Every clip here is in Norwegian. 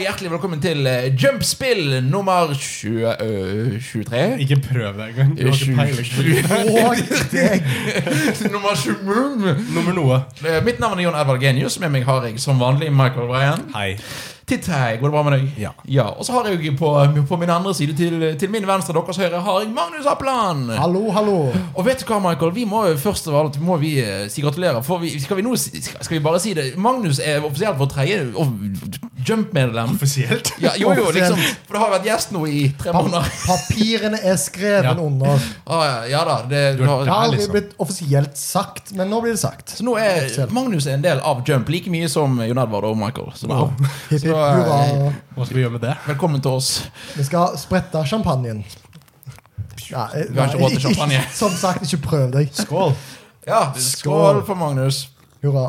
Hjertelig velkommen til eh, Jumpspill nummer 20, øh, 23. Ikke prøv det engang. Du har ikke peiling. på det. nummer 27. Nummer noe. Eh, Mitt navn er Jon Edvard Genius. Med meg har jeg som vanlig Michael Bryan. Hei. Titt hei, går det bra med deg? Ja. Og så har jeg jo på, eh, på min andre side, til, til min venstre, deres høyre, har jeg Magnus Appeland. Hallo, hallo. Og vet du hva, Michael? Vi må jo først av alt må vi eh, si gratulerer. For vi, skal, vi nå, si- skal vi bare si det? Magnus er offisielt vår tredje og- Jump-medlem. Offisielt. Ja, jo, jo, liksom. For det har jo vært gjest nå i tre Pa måneder. papirene er skrevet Ja. under. Ah, ja, ja da, det, Du er- Det ja. har aldri liksom. blitt offisielt sagt, men nå blir det sagt. Så nå er Offisielt. Magnus er en del av Jump, like mye som Jon Edvard og Michael. Så nå, Hipp, hipp, Så, eh, hurra. Hva skal vi gjøre med det? velkommen til oss. Vi skal sprette champagnen. Nei, Vi har ikke råd til nei, champagne. Som sagt, ikke prøv deg. Skål. Ja, skål Skål. for Magnus. Hurra.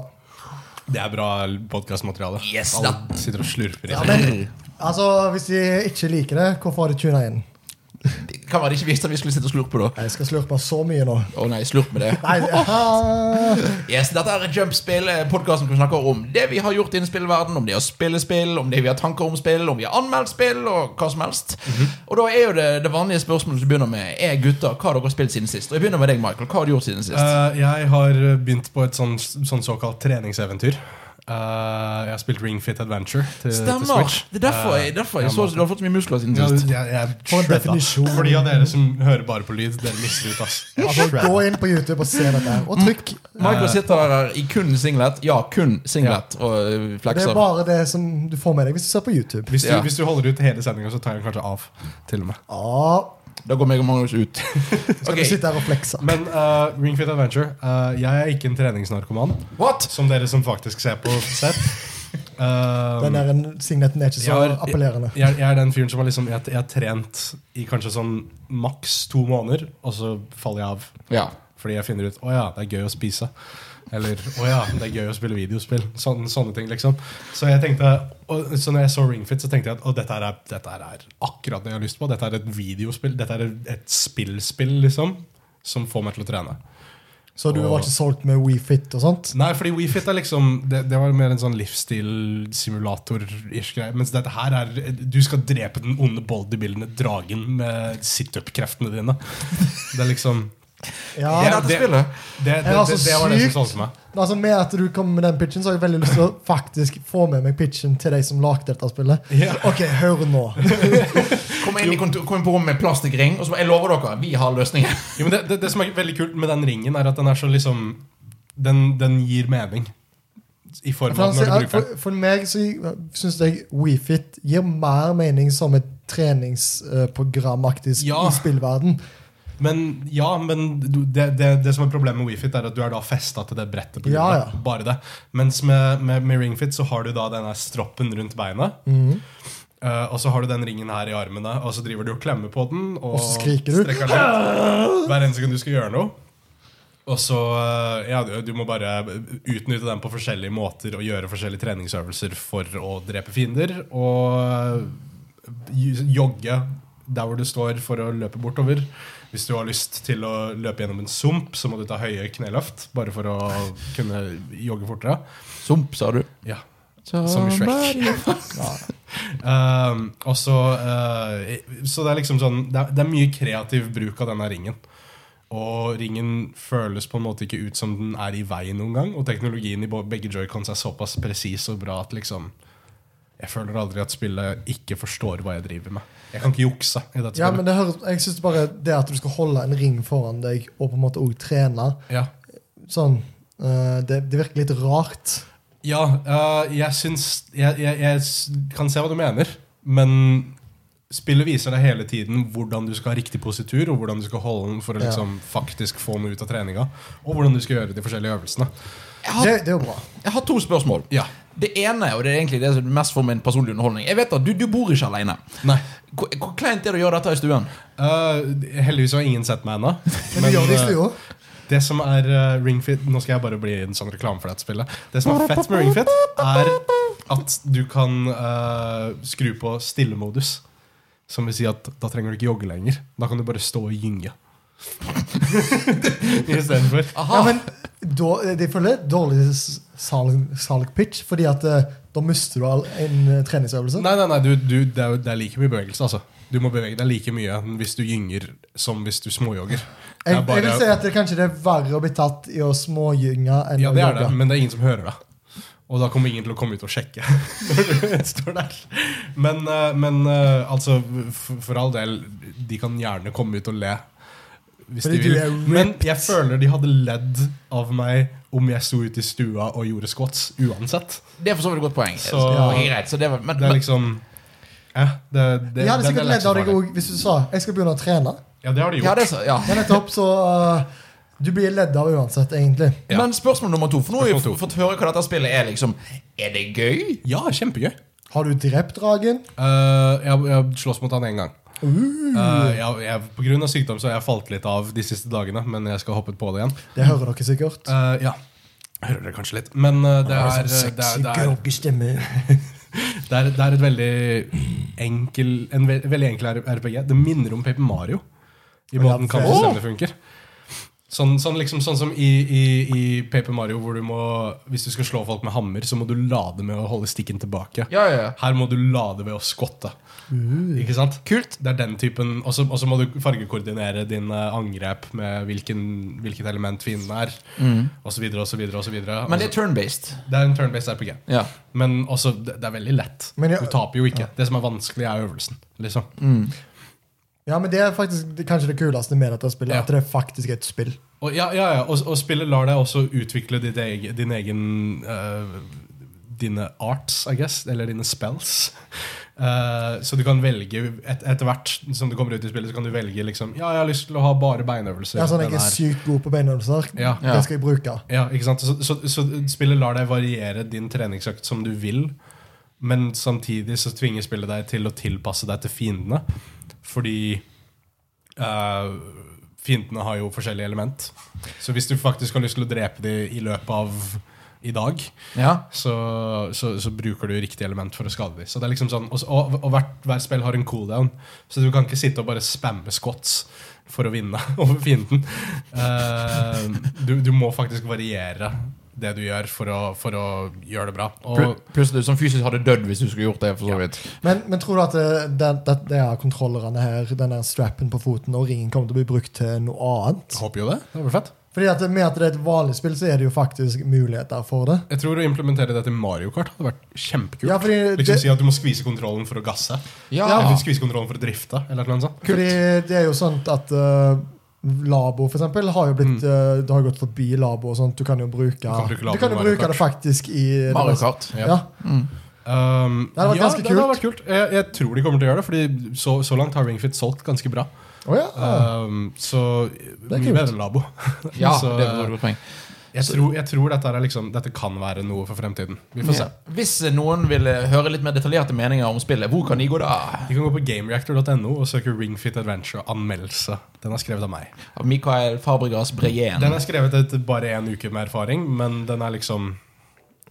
Det er bra podkastmateriale. Yes, Alle da. sitter og slurper i Ja, seg. men altså, hvis de ikke liker det, hvorfor har de tuna inn? Hva var det ikke visste at vi skulle sitte og slurpe, da? Jeg skal slurpe så mye nå. Å nei, slurp med det. Nei, ah, Yes, Dette er Jumpspill, podkasten hvor vi snakker om det vi har gjort innen spillverden, om det å spille spill, om det vi har tanker om spill, om vi har anmeldt spill, og hva som helst. Mhm. Og da er jo det, det vanlige spørsmålet som begynner med er gutter, hva har dere spilt siden sist? Og jeg begynner med deg, Michael. Hva har du gjort siden sist? Eh, jeg har begynt på et sånn, sånn såkalt treningseventyr. Eh, jeg har spilt Ring Fit Adventure til, til Stemmer! Switch. Det er derfor jeg, derfor jeg ja, så men- du har fått så mye muskler siden Ja, sist. jeg, jeg For en shredda. definisjon. For de av dere som hører bare på lyd, dere mister ut, ass. Jeg altså, shredda. gå inn på YouTube og se dette. her, Og trykk. Michael sitter her i kun singlet. Eh. Ja, kun singlet og øh, Det flekser. er bare det som du får med deg hvis du ser på YouTube. Hvis du, Ja. hvis du holder ut hele sendinga, så tar jeg den kanskje av. Til og med Ah, Da går meg og Magnus ut. skal Ok, Um, du sitte her og flekse? Men eh, Ring Fit Adventure eh, Jeg er ikke en treningsnarkoman, What? som dere som faktisk ser på, ser. Eh, Den der signeten er ikke så Jeg har- appellerende. jeg, jeg er den fyren som har liksom jeg, jeg har trent i kanskje sånn maks to måneder, og så faller jeg av. Ja. Fordi jeg finner ut å ja, det er gøy å spise. Eller å ja, det er gøy å spille videospill. Sånne, sånne ting, liksom. Så jeg tenkte og, Så når jeg så Ringfit, så tenkte jeg at å, dette, her er, dette her er akkurat det jeg har lyst på. Dette er et videospill. Dette er et spillspill, liksom. Som får meg til å trene. Så du var ikke solgt med WeFit og sånt? Nei, fordi WeFit er liksom Det, det var mer en sånn livsstilsimulator-ish greie. Mens dette her er Du skal drepe den onde bodybuildende dragen med situp-kreftene dine. Det er liksom Ja, Ja, dette spillet. det, det, Jeg har så det, det var det som sykt- solgte meg. Altså Med at du kom med den pitchen, så har jeg veldig lyst til å faktisk få med meg pitchen til de som lagde dette spillet. Ja. Ok, hør nå. Kom inn, i kontor, kom inn på rommet med plastikkring, og så jeg lover dere, vi har løsningen. Jo, men det, det, det som er veldig kult med den ringen, er at den er så liksom Den, den gir mening. I form For, av han når du sier- bruker den. for, for meg så syns jeg WeFit gir mer mening som et treningsprogramaktig Ja. i spillverden. Men ja, men du, det, det, det som er problemet med WeFit, er at du er da festa til det brettet. På grunn av Ja, ja. Bare det. Mens med, med, med RingFit så har du da denne stroppen rundt beinet. Eh, og så har du den ringen her i armene, og så driver du og klemmer på den. Og, Og så skriker du. strekker den ut Hver eneste gang du skal gjøre noe. Og så, eh, ja, du, du må bare utnytte den på forskjellige måter og gjøre forskjellige treningsøvelser for å drepe fiender. Og j- jogge der hvor du står for å løpe bortover. Hvis du har lyst til å løpe gjennom en sump, så må du ta høye kneløft. Bare for å kunne jogge fortere. Sump, sa du. Ja, som i Shrek. Um, og så, uh, så det er liksom sånn det er, det er mye kreativ bruk av denne ringen. Og ringen føles på en måte ikke ut som den er i veien noen gang. Og teknologien i bo- begge joycons er såpass presis og bra at liksom Jeg føler aldri at spillet ikke forstår hva jeg driver med. Jeg kan ikke jukse. i dette Ja, spillet. men det høres, jeg synes bare det at du skal holde en ring foran deg og på en måte også trene ja. sånn, eh, det, det virker litt rart. Ja, øh, jeg syns jeg, jeg, jeg s- kan se hva du mener, men spillet viser deg hele tiden hvordan du skal ha riktig positur, og hvordan du skal holde den for å Ja. liksom faktisk få noe ut av treninga, og hvordan du skal gjøre de forskjellige øvelsene. Jeg Det, har, det er jo bra. jeg har to spørsmål. Ja. Det ene, og det er egentlig det som er mest for min personlige underholdning Jeg vet at du, du bor ikke alene. Nei. Hvor, hvor kleint er det å gjøre dette i stuen? Øh, heldigvis har ingen sett meg ennå. Men, du gjør det i øh, stua. Det som er uh, Ringfit Nå skal jeg bare bli en sånn reklame for dette spillet. Det som er fett med Ringfit, er at du kan eh, skru på stillemodus. Som vil si at da trenger du ikke jogge lenger. Da kan du bare stå og gynge. Istedenfor. Aha. Ja, men da, jeg føler det er et dårlig salg, salg pitch, fordi at eh, Da mister du all en eh, treningsøvelse. Nei, nei, nei du, du, det, er, jo- det er like mye bevegelse, altså. Du må bevege deg like mye hvis du gynger som hvis du småjogger. Det Jeg, er bare- jeg vil si at det kanskje det er verre å bli tatt i å smågynge enn Ja, å det er det, jogge. men det er ingen som hører det. Og da kommer ingen til å komme ut og sjekke. når du står der. Men, eh, men eh, altså, f- for all del, de kan gjerne komme ut og le. Hvis Fordi de du er vil. ripped. Men jeg føler de hadde ledd av meg om jeg sto ute i stua og gjorde squats uansett. Det er for så vidt et godt poeng. Så- Ok, greit, så det var, men, Det er men, liksom eh, det, det, Jeg hadde den er sikkert lett ledd av som deg faen. også hvis du sa jeg skal begynne å trene. Ja, det har de ja, det gjort. er så, ja. Men nettopp, så eh, Du blir ledd av uansett, egentlig. Ja. men spørsmål nummer to. For nå har vi Spørsmål to. fått høre hva dette spillet er. liksom Er det gøy? Ja, kjempegøy. Har du drept dragen? Eh, jeg, jeg slåss mot han én gang. Eh, jeg, jeg, på grunn av sykdom så har jeg falt litt av de siste dagene, men jeg skal hoppe på det igjen. Det hører dere sikkert. Eh, ja. Hører dere kanskje litt. Men eh, det, er, eh, det, er, det, er, groggestemme. det, er, det er et veldig enkel, en ve veldig enkel R- RPG. Det minner om Paper Mario i Ja, måten kampsystemet funker. Sånn, sånn, liksom, sånn som i, i, i Paper Mario, hvor du må hvis du skal slå folk med hammer, så må du lade med å holde stikken tilbake. Ja, ja, ja. Her må du lade ved å skotte. Ikke sant? Kult. Det er den typen, Og så og så må du fargekoordinere dine angrep med hvilken, hvilket element fienden er, osv. osv. Men det er turn-based. Altså, Det er en turn-based RPG. Ja. Men også, det det er veldig lett. Men jeg- du taper jo ikke. Det som er vanskelig, er øvelsen. Liksom. Ja, men det er faktisk det, kanskje det kuleste med dette spillet. Ja. At det faktisk er et spill. Og, ja, ja, ja. og, og spillet lar deg også utvikle ditt egen, din egen eh, Dine arts, I guess, eller dine spells. Eh, så du kan velge et, Etter hvert som du kommer ut i spillet, Så kan du velge liksom, Ja, jeg har lyst til å ha bare beinøvelser. Ja, sånn, den jeg er her. sykt god på beinøvelser. Ja. Ja. Det skal jeg bruke. Ja, ikke sant? Så, så, så spillet lar deg variere din treningsøkt som du vil, men samtidig så tvinger spillet deg til å tilpasse deg til fiendene. Fordi eh, fiendene har jo forskjellige element. Så hvis du faktisk har lyst til å drepe dem i løpet av i dag, Ja. så, så, så bruker du riktig element for å skade dem. Så det er liksom sånn, og og, og hvert, hver spill har en cooldown, så du kan ikke sitte og bare spamme squats for å vinne over fienden. Eh, du, du må faktisk variere det du gjør for å, for å gjøre det bra. Pl- Og, Pluss du som fysisk hadde dødd hvis du skulle gjort det. for så vidt Men, men tror du at eh, det, det, det, det er kontrollerne her, den der strappen på foten og ringen kommer til å bli brukt til noe annet? håper jo det. Det var fett. Fordi at Med at det er et vanlig spill, så er det jo faktisk muligheter for det. Jeg tror å implementere dette i Mario Kart hadde vært kjempekult. Ja, fordi liksom det- Si at du må skvise kontrollen for å gasse. Ja, Eller skvise kontrollen for å drifte. Eller noe sånt. Fordi det er jo sånn at eh, Labo for eksempel, har jo blitt, eh, det har gått forbi Labo. og sånt. Du kan jo bruke, du Mm. kan kan bruke Labo i jo Mario bruke Kart. det faktisk i Mario Kart. Ja. Ja. Um, Det hadde vært ja, ganske det hadde vært kult. Jeg, jeg tror de kommer til å gjøre det, Fordi så, så langt har Ringfit solgt ganske bra. Å ja. Um, så Ah. er mye kult. bedre labo. Ja, så, det var et godt poeng. jeg, tror, jeg tror dette, er liksom, dette kan være noe for fremtiden. Vi får se. Hvis noen vil høre litt mer detaljerte meninger om spillet, hvor kan de gå da? Vi kan gå på gamereactor.no og søke Ringfit Adventure anmeldelse. Den er skrevet av meg. Av Mikael Fabregas Breen. Den er skrevet etter bare én uke med erfaring, men den er liksom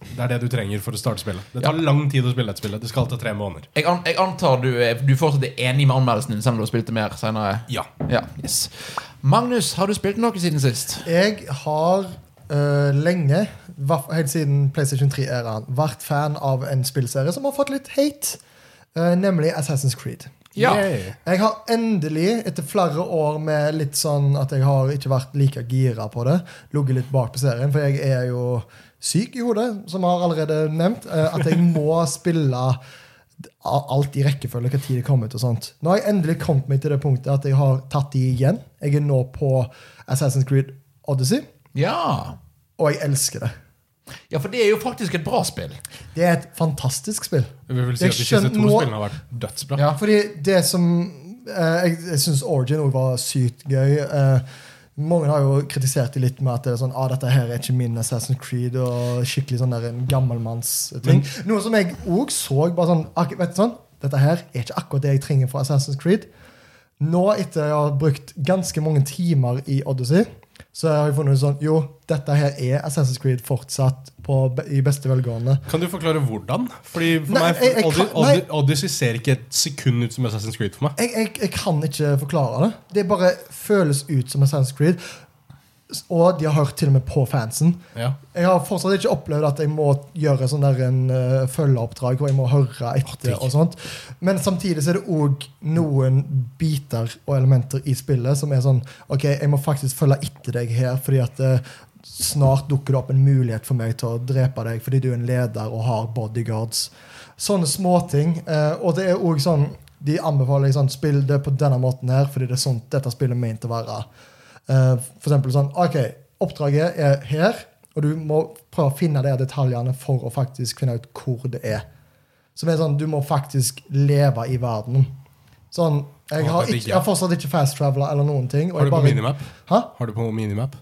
det er det du trenger for å starte spillet. Det tar Ja. lang tid å spille et spill. Det skal ta tre måneder. Jeg, an, jeg antar du, er- du fortsatt er enig med anmeldelsen din, selv om du har spilt det mer senere? Ja. Ja, yes. Magnus, har du spilt noe siden sist? Jeg har eh, lenge, hva- helt siden PlayStation 3-æraen, vært fan av en spillserie som har fått litt hate, eh, nemlig Assassin's Creed. Ja. Yay. Jeg har endelig, etter flere år med litt sånn at jeg har ikke vært like gira på det, ligget litt bak på serien, for jeg er jo syk i hodet, som jeg har allerede nevnt, eh, at jeg må spille a- alt i rekkefølge, hva tid det kommer ut og sånt. Nå har jeg endelig kommet meg til det punktet at jeg har tatt de igjen. Jeg er nå på Assassin's Creed Odyssey, Ja. og jeg elsker det. ja, for det er jo faktisk et bra spill. Det er et fantastisk spill. Vi vil si Jeg at de siste skjønner to nå- spillene har vært dødsbra. Ja, fordi det som eh, Jeg, jeg syns Origin også var sykt gøy. Eh, mange har jo kritisert det litt med at det er sånn, ah, dette her er ikke min Assassin's Creed. og skikkelig sånn der en gammelmannsting. Noe som jeg òg så. bare sånn, ak- vet du sånn, Dette her er ikke akkurat det jeg trenger fra Assassin's Creed. Nå, etter jeg har brukt ganske mange timer i Odyssey, så har jeg funnet ut sånn, jo, dette her er Assassin's Creed fortsatt på, i beste velgående. Kan du forklare hvordan? Fordi for Nei, meg, jeg- jeg Odyssey, kan- nei. Odyssey ser ikke et sekund ut som Assassin's Creed for meg. jeg, jeg, jeg kan ikke forklare det. Det bare føles ut som Assassin's Creed. Og de har hørt til og med på fansen. Ja. Jeg har fortsatt ikke opplevd at jeg må gjøre sånn der en eh, følgeoppdrag hvor jeg må høre etter. og sånt. Men samtidig så er det òg noen biter og elementer i spillet som er sånn OK, jeg må faktisk følge etter deg her, fordi at eh, snart dukker det opp en mulighet for meg til å drepe deg fordi du er en leder og har bodyguards. Sånne småting. eh, og det er òg sånn De anbefaler liksom, spill det på denne måten her, fordi det er sånn dette spillet er ment å være. Eh, For eksempel sånn OK, oppdraget er her, og du må prøve å finne de detaljene for å faktisk finne ut hvor det er. Så det er sånn, du må faktisk leve i verden. Sånn, Jeg Å, har, det digger ikke, jeg. jeg har fortsatt ikke fast-travela eller noen ting. og Har jeg du på bare- minimap? Hæ? Har du på minimap?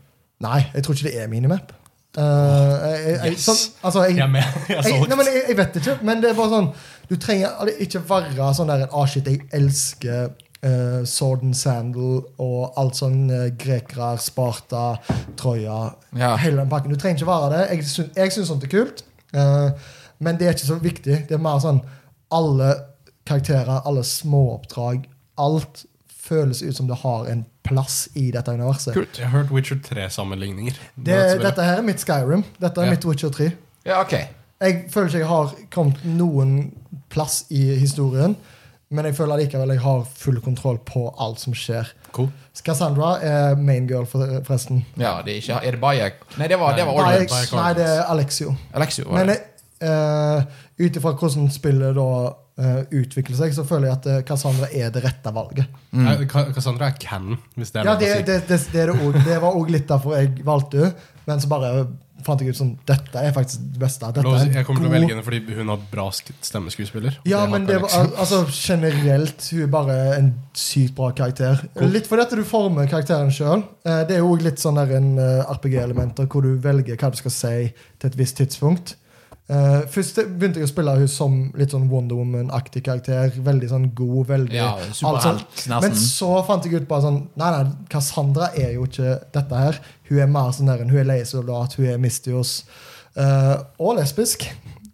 Nei, jeg tror ikke det er minimap. Eh, jeg, jeg, jeg, Yes. sånn, altså, jeg, Jeg er med. Jeg er jeg, solgt. nei, men jeg, jeg vet ikke, men det er bare sånn Du trenger alle- ikke være sånn der Ah, shit, jeg elsker eh, Sword and Sandal og alt sånn eh, grekere, Sparta, Troja Ja. Hele den pakken. Du trenger ikke være det. Jeg, syn, jeg syns sånt er kult, eh, men det er ikke så viktig. Det er mer sånn alle karakterer, alle småoppdrag, alt føles ut som det har en plass i dette universet. Kult. Jeg har hørt Witcher 3-sammenligninger. Det, dette her er mitt Skyrim. Dette er Ja. mitt Witcher 3. Ja, ok. Jeg føler ikke jeg har kommet noen plass i historien, men jeg føler likevel jeg har full kontroll på alt som skjer. Cool. Cassandra er main girl, for- forresten. Ja, det er, ikke, er det Bayek? Nei, det var, det var Nei, Origins. Nei, Origins. Bayek nei, det er Alexio. Alexio var Men det. uh, ut ifra hvordan spillet da eh, utvikler seg, så føler jeg at eh, Cassandra er det rette valget. Nei, Ka- Cassandra er canon, hvis det er Mm. Ja, lov det, å si. det, det, det, er det, også. det var òg litt derfor jeg valgte henne, men så bare fant jeg ut sånn Dette er faktisk det beste. Dette Lov å si- er jeg kommer til å god- velge henne fordi hun har bra sk- stemmeskuespiller. Ja, Det men hater det jeg, var, liksom. al- altså generelt Hun er bare en sykt bra karakter. Litt fordi at du former karakteren sjøl. Det er jo også litt sånn der en eh, RPG-elementer hvor du velger hva du skal si til et visst tidspunkt. Eh, Først begynte jeg å spille hun som litt sånn Wonder Woman-aktig karakter. Veldig sånn god, veldig Ja, alt sånn. superhelt, Men nesten. så fant jeg ut bare sånn Nei, nei, Cassandra er jo ikke dette her. Hun er mer sånn der Hun er leiesoldat, hun er mistios. eh, og lesbisk.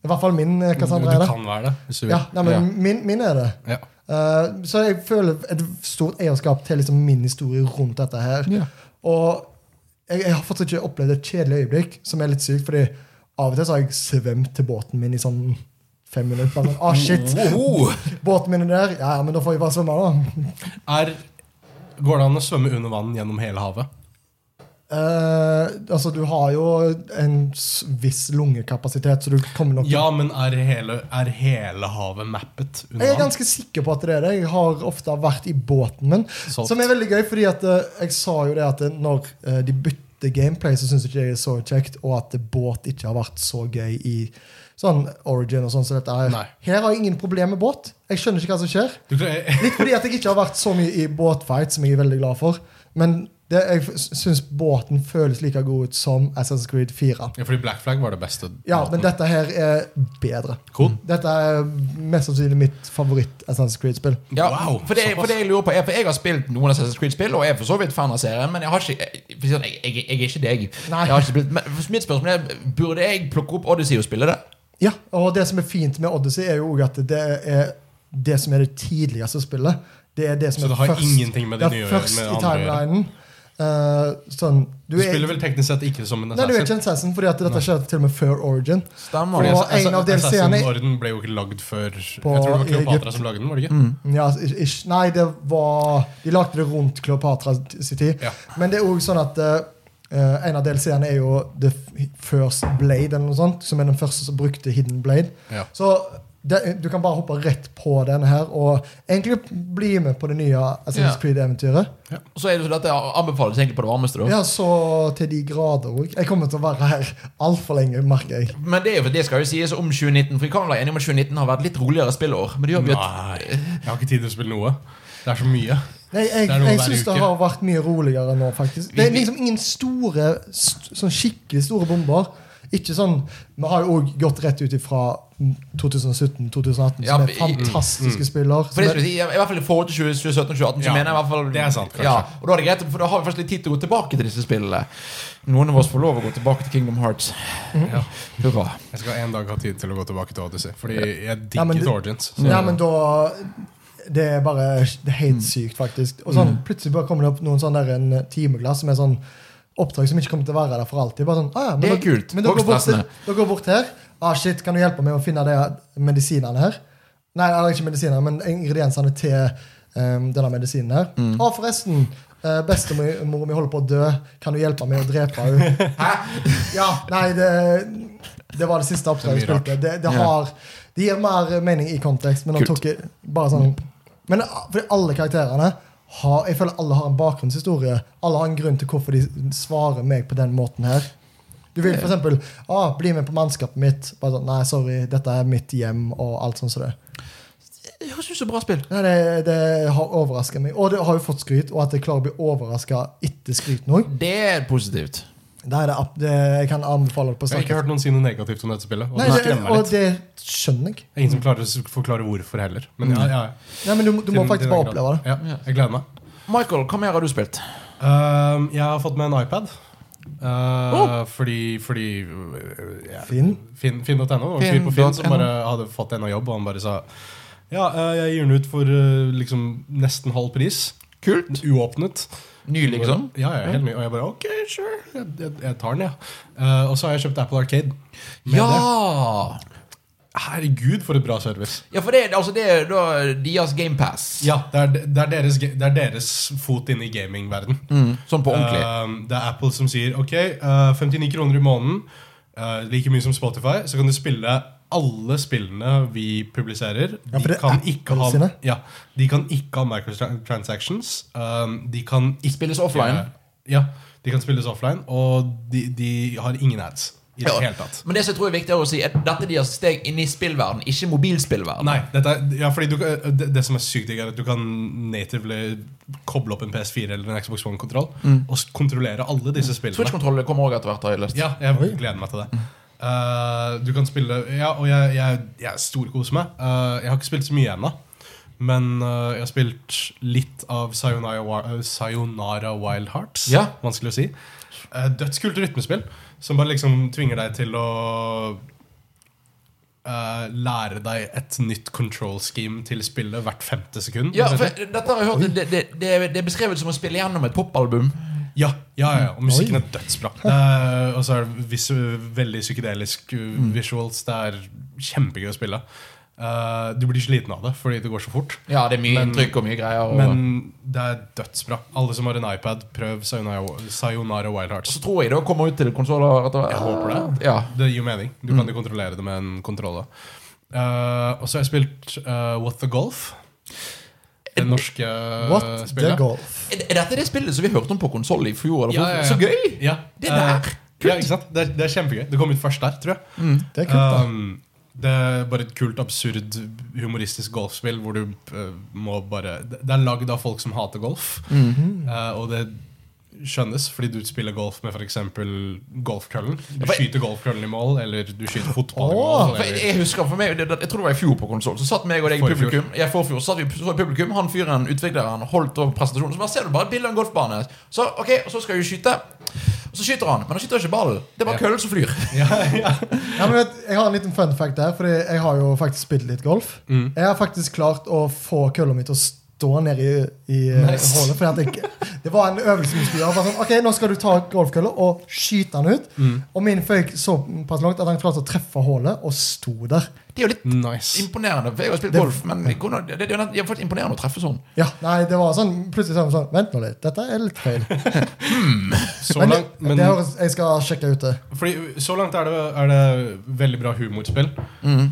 I hvert fall min eh, Cassandra er Du det. kan være det, hvis du vil. Ja, nei, men Ja. Min, min er det. Ja. Eh, så jeg føler et stort eierskap til liksom min historie rundt dette her. Ja. Og jeg, jeg har fortsatt ikke opplevd et kjedelig øyeblikk, som er litt sykt, fordi av og til så har jeg svømt til båten min i sånn fem minutter. Bare sånn, ah shit, Wow! Oh, båten min er der. Ja, men da får jeg bare svømme, da. Er, går det an å svømme under vann gjennom hele havet? Eh, altså, du har jo en s- viss lungekapasitet, så du kommer nok til- Ja, men er hele, er hele havet mappet under Jeg er vann? ganske sikker på at det er det. Jeg har ofte vært i båten min. Solgt. Som er veldig gøy, fordi at eh, jeg sa jo det at eh, når eh, de bytter gameplay, så syns ikke jeg det er så kjekt, og at eh, båt ikke har vært så gøy i sånn origin og sånn som dette her. Nei. Her har jeg ingen problemer med båt. Jeg skjønner ikke hva som skjer. Du, klarer- Litt fordi at jeg ikke har vært så mye i båtfight, som jeg er veldig glad for. Men det, jeg syns båten føles like god ut som Assassin's Creed 4. ja, fordi Black Flag var det beste. Ja, men dette her er bedre. Cool. Dette er mest sannsynlig mitt favoritt-Assassin's Creed-spill. Ja, Wow, for, det, såpass. for det jeg lurer på er, for Jeg har spilt noen Assassin's Creed-spill og er for så vidt fan av serien, men jeg har ikke Jeg, jeg, jeg, jeg, jeg er ikke deg. Nei. Jeg har ikke spilt, men for mitt spørsmål er Burde jeg plukke opp Odyssey og spille det? Ja, og det som er fint med Odyssey, er jo også at det er det som er det tidligste spillet. Det er det som Så er det har først, ingenting med de det er nye å gjøre, først med i andre å gjøre? timelinen. Eh, sånn, Du du, er, spiller vel teknisk sett ikke som en nei, du er ikke assassin? en assassin, fordi at dette skjedde til og med før Origin. Stemmer. Fordi- og en av DLC-ene- Assassin-orden ble jo ikke lagd før Jeg tror det var Egypt. Kleopatra som lagde den, var det ikke? Ja, ish, ish. Nei, det var De lagde det rundt Kleopatra sin tid. Ja. Men det er også sånn at eh, en av delseerne er jo The First Blade, eller noe sånt, som er den første som brukte Hidden Blade. Ja. Så det, du kan bare hoppe rett på den her og egentlig bli med på det nye Ja. Assassin's Creed-eventyret. Og så er det sånn så dette anbefales egentlig på det varmeste. da Ja, så til de grader òg. Jeg kommer til å være her altfor lenge, merker jeg. Men det, er jo- det skal jo sies om 2019, for vi kan være enige om at 2019 har vært litt roligere spillår. Men det gjør vi at Nei, jeg har ikke tid til å spille noe. Det er så mye. Nei, jeg, Det er noe jeg hver syns det uke. har vært mye roligere nå, faktisk. Det er Vi- liksom ingen store, st sånn skikkelig store bomber. Ikke sånn, Vi har jo òg gått rett ut ifra 2017-2018, Ja, som vi- er fantastiske spiller. For det Som skulle er, jeg si, I hvert fall i forhold til 2017 og 2018. Så Ja, mener jeg i hvert fall det er sant, kanskje. ja, Og Da er det greit, for da har vi faktisk litt tid til å gå tilbake til disse spillene. Noen av oss får lov å gå tilbake til Kingdom Hearts. Ja. Hurra. Jeg skal en dag ha tid til å gå tilbake til Odyssey, fordi jeg digget Ja, men du- Origins. ja, men da Det er bare det er helt sykt, faktisk. Og sånn, Plutselig bare kommer det opp noen sånne der, en timeglass som er sånn oppdrag som ikke kommer til å være der for alltid. Bare sånn, ah, ja, men Det er dere- kult. Men dere går, bort, Hogstplassene. dere går bort her. Ah, shit, kan du hjelpe meg å finne de medisinene her? Nei, eller ikke medisiner, men ingrediensene til um, denne medisinen her. Ah, forresten. eh, Bestemor mi holder på å dø. Kan du hjelpe meg å drepe henne? ja, nei, det, det var det siste oppdraget jeg Det er mye spilte. Det, det, har, det gir mer mening i kontekst, men han Kult. tok i- bare sånn Men ah, fordi alle karakterene har, Jeg føler alle har en bakgrunnshistorie. Alle har en grunn til hvorfor de svarer meg på den måten her. Du vil f.eks. Ah, 'Bli med på mannskapet mitt'. Bare sånn, 'Nei, sorry, dette er mitt hjem', og alt sånt som det. Det høres ut som et bra spill. Nei, det, det har overraska meg. Og det har jo fått skryt, og at jeg klarer å bli overraska etter skryten òg. Det er positivt. Det er det, ab- det, jeg kan anbefale det på Jeg har ikke sterkest. hørt noen si noe negativt om dette spillet. Og Nei, det det, skremmer meg og litt. det skjønner jeg. Det er ingen som klarer å s- forklare hvorfor heller. Men ja, ja, Nei, men Mm. du, du må til- faktisk til den grad. bare oppleve det. Ja, jeg gleder meg. Michael, hva mer har du spilt? Ehm, jeg har fått med en iPad. Eh, Oh! Fordi, fordi eh, ja, Finn? Finn- Finn.no. det var en fyr på Finn.no. Finn som bare hadde fått en av jobb, og han bare sa ja, eh, jeg gir den ut for eh, liksom nesten halv pris. Kult. Uåpnet. Ny, liksom? Ja, ja, helt ny. Og jeg bare OK, sure. Jeg, jeg, jeg tar den, jeg. Eh, og så har jeg kjøpt Apple Arcade. med Ja! det. Herregud, for et bra service. Ja, for det, er- altså, det er da Dias GamePass. Ja, det er, det er, deres, ge- det er deres fot inne i gamingverden. Mm, sånn på ordentlig. Eh, det er Apple som sier ok, eh, 59 kroner i måneden, eh, like mye som Spotify, så kan du spille alle spillene vi publiserer. Ja, for De det er kan Apple ikke ha, sine. ja, de kan ikke ha microtransactions. eh, de kan ikke Spilles offline. Ja, de kan spilles offline, og de, de har ingen ads i det Ja. hele tatt. Men det som jeg tror er viktigere å si, er at dette er deres steg inn i spillverden, ikke mobilspillverden. Nei, dette er, ja, fordi du, kan- det, det som er sykt digg, er at du kan natively koble opp en PS4 eller en Xbox One-kontroll Mm. og s- kontrollere alle disse spillene. Switch-kontroll kommer òg etter hvert. har jeg lest. Ja, jeg gleder meg til det. Eh, du kan spille Ja, og jeg, jeg, jeg storkoser meg. Eh, jeg har ikke spilt så mye ennå. Men eh, jeg har spilt litt av Sayonara, Wi- eh, Sayonara Wild Hearts. Ja. Vanskelig å si. Eh, dødskult rytmespill som bare liksom tvinger deg til å eh, lære deg et nytt control scheme til spillet hvert femte sekund. Ja, for omtrent. dette har jeg hørt det, det, det, det er beskrevet som å spille gjennom et popalbum. Ja, ja, ja, og musikken Oi. er dødsbra. Det er- Og så er det visu, veldig psykedelisk uh, Mm. visuals. Det er kjempegøy å spille. Uh, du blir sliten av det fordi det går så fort. Ja, det er mye Men- inntrykk og mye greier. Og, Men det er dødsbra. Alle som har en iPad, prøv Sayonara, Sayonara Wild Hearts. så tror jeg det kommer ut til konsoller etter hvert. Jeg håper Ja. Det gir jo mening. Du Mm. kan jo kontrollere det med en kontroll. da. Uh, og så har jeg spilt uh, What the Golf. Det norske What uh, the spillet. golf? Er er dette det spillet som vi hørte om på konsoll i fjor? Eller? Ja, ja, ja. Så gøy! Ja. Det der! Uh, ja, ikke sant? Det er, det er kjempegøy. Det kom ut først der, tror jeg. Det er kult, da. Um, det er bare et kult, absurd, humoristisk golfspill hvor du eh, må bare Det det er lagd av folk som hater golf, Mhm. eh, og det skjønnes fordi du spiller golf med f.eks. golfkøllen. Du for- skyter golfkøllen i mål, eller du skyter fotball i Åh, mål. For jeg, Eller, jeg husker for meg, det, det- jeg tror det var i fjor på konsoll. Så satt meg og deg i Forfjor. publikum. Jeg forfjor, satt vi så i publikum Han fyren, utvikleren, holdt over presentasjonen. Så bare ser du bare et bilde av en golfbane. Så ok, og så skal vi skyte. Og så skyter han, men han skyter ikke ballen. Det er bare Ja. køllen som flyr. ja, ja. Ja, men vet, jeg har en liten fun fact der, Fordi jeg har jo faktisk spilt litt golf. Mm. Jeg har faktisk klart å få kølla mi til å stå nede i, i eh, Nice. hullet. Fordi at jeg, det var en øvelse vi skulle gjøre. Bare sånn, ok, Nå skal du ta golfkølla og skyte den ut. Mm. Og min føyk såpass langt at han klarte å treffe hullet og sto der. Det er jo litt Nice. imponerende. For jeg har spilt Det- golf, men hvordan- det, det, er jo nett- det er faktisk imponerende å treffe sånn. Ja, nei, det var sånn, Plutselig sånn, sånn Vent nå litt, dette er litt feil. Så Men, langt, men det høres, jeg skal sjekke ut det. fordi, så langt er det, er det veldig bra humorspill. Eh,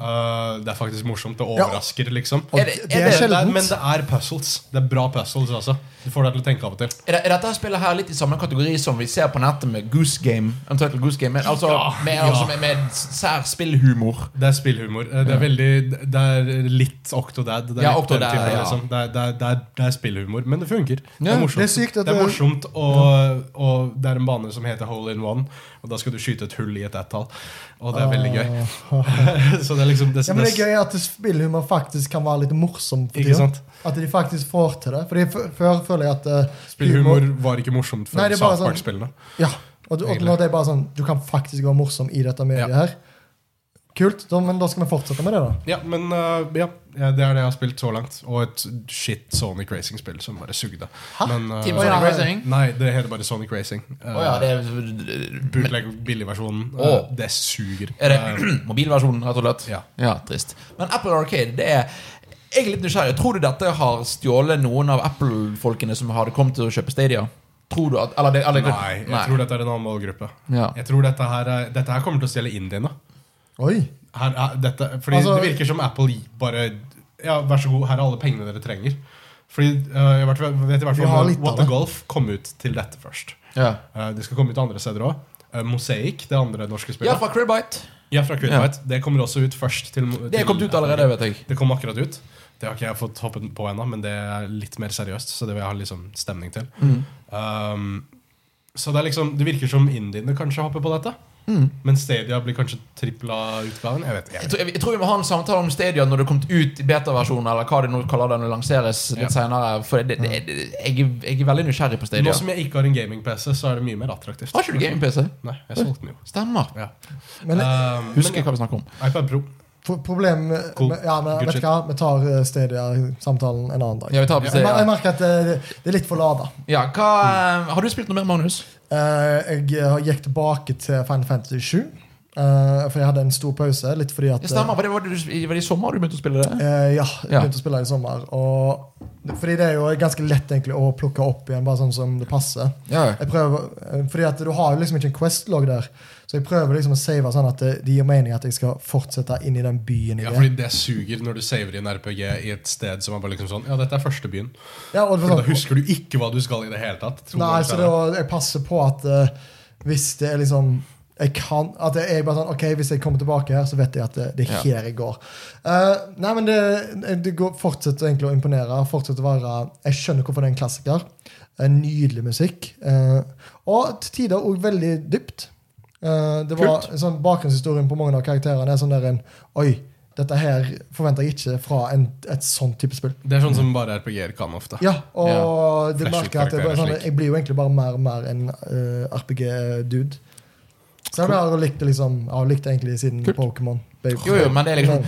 det er faktisk morsomt. Det Mhm. Ja. overrasker, liksom. Og Er det, det- det er er det- Det er, sjeldent. men det er puzzles. Det er bra puzzles også. Du får deg til å tenke av og til. Er, det- er dette spillet her litt i samme kategori som vi ser på nettet med Goose Game? Untitled Goose Game men Altså Ja, med, ja. altså med, med sær spillhumor. Det er spillhumor. Eh, Det er, veldig, det er litt Octodad. Det er, Ja, litt den Octodad, typen, ja. liksom. det, er, det, er, det, er, det er spillhumor, men det funker. det Ja, er morsomt. det er sykt at det er det- morsomt og, og det er en bane som heter Hole in One, og da skal du skyte et hull i et ett-tall. Og det er veldig gøy. Så det er liksom det, Ah. Ja, men det det- er gøy at spillhumor faktisk kan være litt morsom. For Ikke tiden. sant? At de faktisk får til det. Fordi f- Før føler jeg at eh, Spillhumor var ikke morsomt Nei, før det er bare South sånn- Park-spillene. Ja, og, og Egentlig. når det er bare sånn Du kan faktisk være morsom i dette mediet Ja. her. Kult, da, men da skal vi fortsette med det, da. Ja, men eh, ja, ja, det er det jeg har spilt så langt. Og et shit Sonic Racing-spill som bare sugde. Hæ? Men, eh, Team Å, ja. Sonic Racing? Nei, det heter bare Sonic Racing. Eh, Å ja, det er, Bootleg billigversjonen. eh, Å. Det suger. er Eh, det mobilversjonen, rett og slett? Ja. trist. Men Apple Arcade, det er Jeg er litt nysgjerrig. Tror du dette har stjålet noen av Apple-folkene som hadde kommet til å kjøpe Stadia? Tror du at eller, det- eller, Nei, jeg tror dette er en annen målgruppe. Ja. Jeg tror Dette her, er- dette her kommer til å stjele indiene. Oi. Her er, dette, fordi Altså- det virker som Apple bare Ja, vær så god, her er alle pengene dere trenger. Fordi eh, jeg vet, vet i hvert Vi har fall litt av What the det. Golf kom ut til dette først. Ja. Eh, det skal komme ut andre steder òg. Mosaic, det andre norske ja, spillet. fra Cribbite. Ja, fra Kvillbite. Det kommer også ut først. Til, Det er kommet ut allerede, vet jeg. Det kom akkurat ut. Det har ikke jeg fått hoppet på ennå, men det er litt mer seriøst. Så det vil jeg ha liksom stemning til. Um, så det er liksom Det virker som indiene kanskje hopper på dette. Mm. Men Stadia blir kanskje tripla utgaven. Jeg vet, jeg Jeg vet. tror, jeg, jeg tror vi må ha en samtale om Stadia når det er kommet ut i beta-versjonen, eller hva de nå kaller det når det lanseres litt Ja. senere. For det, det, det, jeg, er- jeg er veldig nysgjerrig på Nå Stadia. som jeg ikke har en gaming-PC, så er det mye mer attraktivt. Har ikke du gaming-PC? Nei, jeg solgte den jo. Stemmer. Ja. Men Um, Husker men, hva vi snakker om. ja, iPad Pro. pro- problemet med- Cool. Ja, men Good vet shit. du hva, vi tar eh, Stadia-samtalen en annen dag. Ja, vi tar på Jeg, mer- jeg Stadia. merker at det, det er litt for lada. Ja, hva, eh, har du spilt noe mer, Magnus? Eh, jeg har- gikk tilbake til Final Fantasy 7, for jeg hadde en stor pause. Litt fordi at Ja, stemmer. Var det, var, det, du- var det i sommer du begynte å spille det? Eh, ja, jeg Ja. begynte å spille det i sommer. Og, fordi det er jo ganske lett egentlig å plukke opp igjen, bare sånn som det passer. Ja. Jeg prøver, eh, fordi at du har jo liksom ikke en Quest-logg der, så jeg prøver liksom å save sånn at det, det gir mening at jeg skal fortsette inn i den byen. Ja, igjen. fordi det suger når du saver i en RPG i et sted som er bare liksom sånn Ja, dette er første byen. Ja, og det For var da sånn- husker du ikke hva du skal i det hele tatt. to Nei, år så det senere. var, jeg passer på at eh, hvis det er liksom jeg kan, at jeg er bare sånn, ok, Hvis jeg kommer tilbake her, så vet jeg at det, det er Ja. her jeg går. Eh, nei, men det, det går, fortsetter egentlig å imponere. fortsetter å være, Jeg skjønner hvorfor det er en klassiker. Eh, nydelig musikk. eh, og til tider òg veldig dypt. Eh, det var sånn Bakgrunnshistorien på mange av karakterene er sånn der en Oi, dette her forventer jeg ikke fra en, et sånt type spill. Det er sånn som bare RPG-er kan ofte. Ja, og det Flash merker jeg at jeg, bare, ut-karakterer sånn, slik. jeg blir jo egentlig bare mer og mer en eh, RPG-dude. Så jeg har likt det liksom Jeg har likt det egentlig siden Kult. Pokémon. Baby. Jo, jo, men det er liksom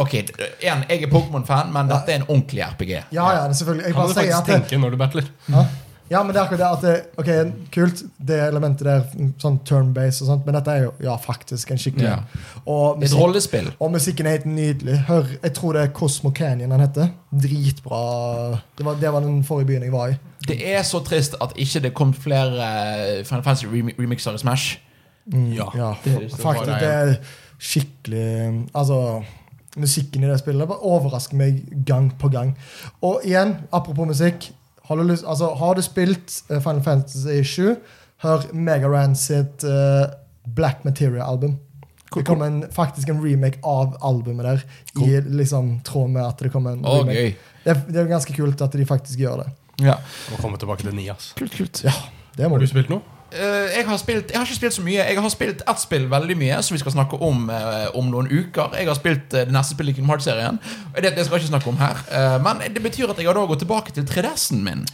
Ok, igjen, jeg er Pokémon-fan, men dette er en ordentlig RPG. Ja, ja, det er selvfølgelig. Jeg Kan bare du sier faktisk at det, tenke når du battler? ja, ja, men det er akkurat det at det, Ok, kult, det elementet der, mm, sånn turn-base og sånt, men dette er jo ja, faktisk en skikkelig Ja. og, Et musikk, rollespill. og musikken er helt nydelig. Hør, jeg tror det er Cosmo Canyon han heter. Dritbra. Det var, det var den forrige byen jeg var i. Det er så trist at ikke det kom flere eh, Final Fantasy remi- remixer i Smash. Ja. Ja, Det er det som faktisk. bare Det er skikkelig Altså, musikken i det spillet bare overrasker meg gang på gang. Og igjen, apropos musikk. Har du, lyst, altså, har du spilt eh, Final Fantasy 7, hør Megaran sitt eh, Black Material-album. Det kom en, faktisk en remake av albumet der, i liksom tråd med at det kom en Å, remake. gøy. Det, er- det er jo ganske kult at de faktisk gjør det. Ja. Må komme tilbake til ni, ass. Kult, kult. Det må Har du. du spilt noe? Eh, jeg, har spilt, jeg har ikke spilt så mye. Jeg har spilt ett spill veldig mye, som vi skal snakke om eh, om noen uker. Jeg har spilt eh, det neste spillet i Kingdom Hearts-serien. Det, det skal jeg ikke snakke om her. Eh, men det betyr at jeg har da gått tilbake til 3DS-en min.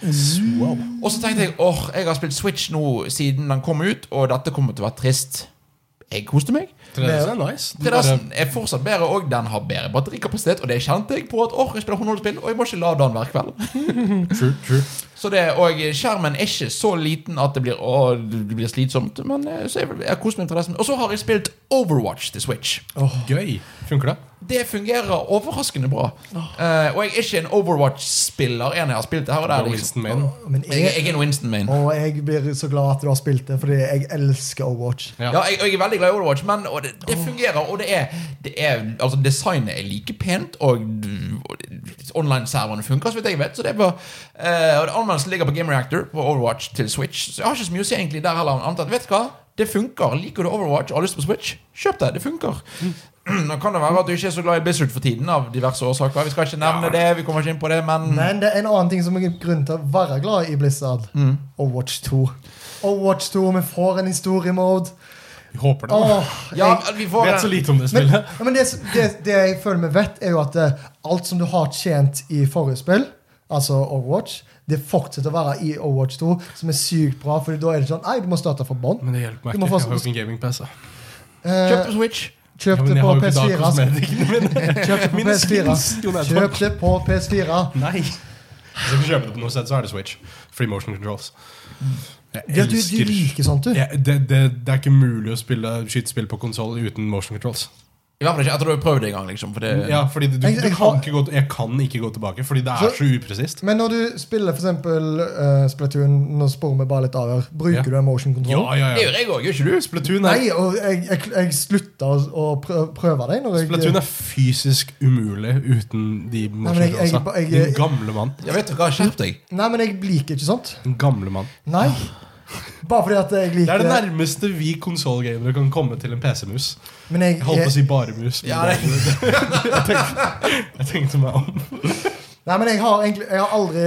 Og så tenkte jeg åh, jeg har spilt Switch nå siden den kom ut, og dette kommer til å være trist. Jeg koste meg. 3DS er nice. Du bare- 3DS-en er fortsatt bedre, og den har bedre batterikapasitet. Og det kjente jeg på at åh, jeg spiller håndholdspill, og jeg må ikke lade den hver kveld. True, true. Så det, og skjermen er ikke så liten at det blir, å, det blir slitsomt. Men eh, så jeg, jeg koser meg med interessen. Og så har jeg spilt Overwatch til Switch. Gøy. Funker det? Det fungerer overraskende bra. Eh, og jeg er ikke en Overwatch-spiller. En jeg har spilt det her og Det der. er Liksom. Winston Maiden. Men Jeg, jeg er en Winston main. Og jeg blir så glad at du har spilt det, fordi jeg elsker Overwatch. Ja. Ja, jeg, og jeg er veldig glad i Overwatch, men og det, det fungerer. Og det er, det er Altså, designet er like pent, og, og online-serverne funker, så vidt jeg vet. Så det var eh, Og det anmeldelsen ligger på Game Reactor på Overwatch til Switch. Så jeg har ikke så mye å si egentlig der heller. Annet enn at, vet du hva? Det funker. Liker du Overwatch og har lyst på Switch, kjøp det. Det funker. Mm. Nå kan det være at du ikke er så glad i Blizzard for tiden, av diverse årsaker. Vi skal ikke nevne det, vi kommer ikke inn på det, men Mm. Men det er en annen ting som er grunn til å være glad i Blizzard. Mm. Overwatch 2. Overwatch 2, vi får en historiemode. Vi håper det. da. Åh, Ja, jeg- vi Jeg får vet så lite om det men, spillet. ja, men det, det, det jeg føler vi vet, er jo at eh, alt som du har tjent i forrige spill, altså Overwatch, det fortsetter å være i Overwatch 2, som er sykt bra, Fordi da er det sånn Nei, du må starte fra bånn. Men det hjelper meg Du må ikke. få- Jeg har jo ikke en gaming-PC. Eh, Kjøp på Switch. Ja, Kjøpte men jeg på har jo ikke da PS4. ass. kosmetikkene mine. Kjøpte altså. på Mine PS4. skins, Jon Edvard. Kjøpte på PS4. Nei. Hvis jeg ikke kjøper det på noe sett, så er det Switch. Free motion controls. Jeg Ja, du, du liker sånt, du. Ja, det, det, det er ikke mulig å spille skytespill på konsoll uten motion controls. I hvert fall ikke etter du har prøvd det en gang. liksom For det, Ja, fordi du, du, Jeg- jeg du har- kan ikke gå, jeg kan ikke gå tilbake, fordi det Så- er så upresist. Men når du spiller for eksempel eh, Splatoon, nå spør vi bare litt av her, bruker Ja. du emotion Ja, control? ja, Det ja. gjør jeg òg, gjør ikke du? Splatoon er, Nei, og jeg, jeg, jeg slutta å, å prø- prøve det. Når jeg, Splatoon er fysisk umulig uten de men motion jeg- jeg- controlsa. Din jeg- gamle mann. Ja, vet du hva, Skjerp deg. Nei, men jeg liker ikke sånt. Din gamle mann. Nei. Bare fordi at jeg Det liker er det nærmeste vi konsollgamere kan komme til en PC-mus. Men jeg, Jeg holdt på å si bare mus. men Ja, det er jo det. jeg, tenkte, jeg tenkte meg om. Nei, men jeg har egentlig Jeg har aldri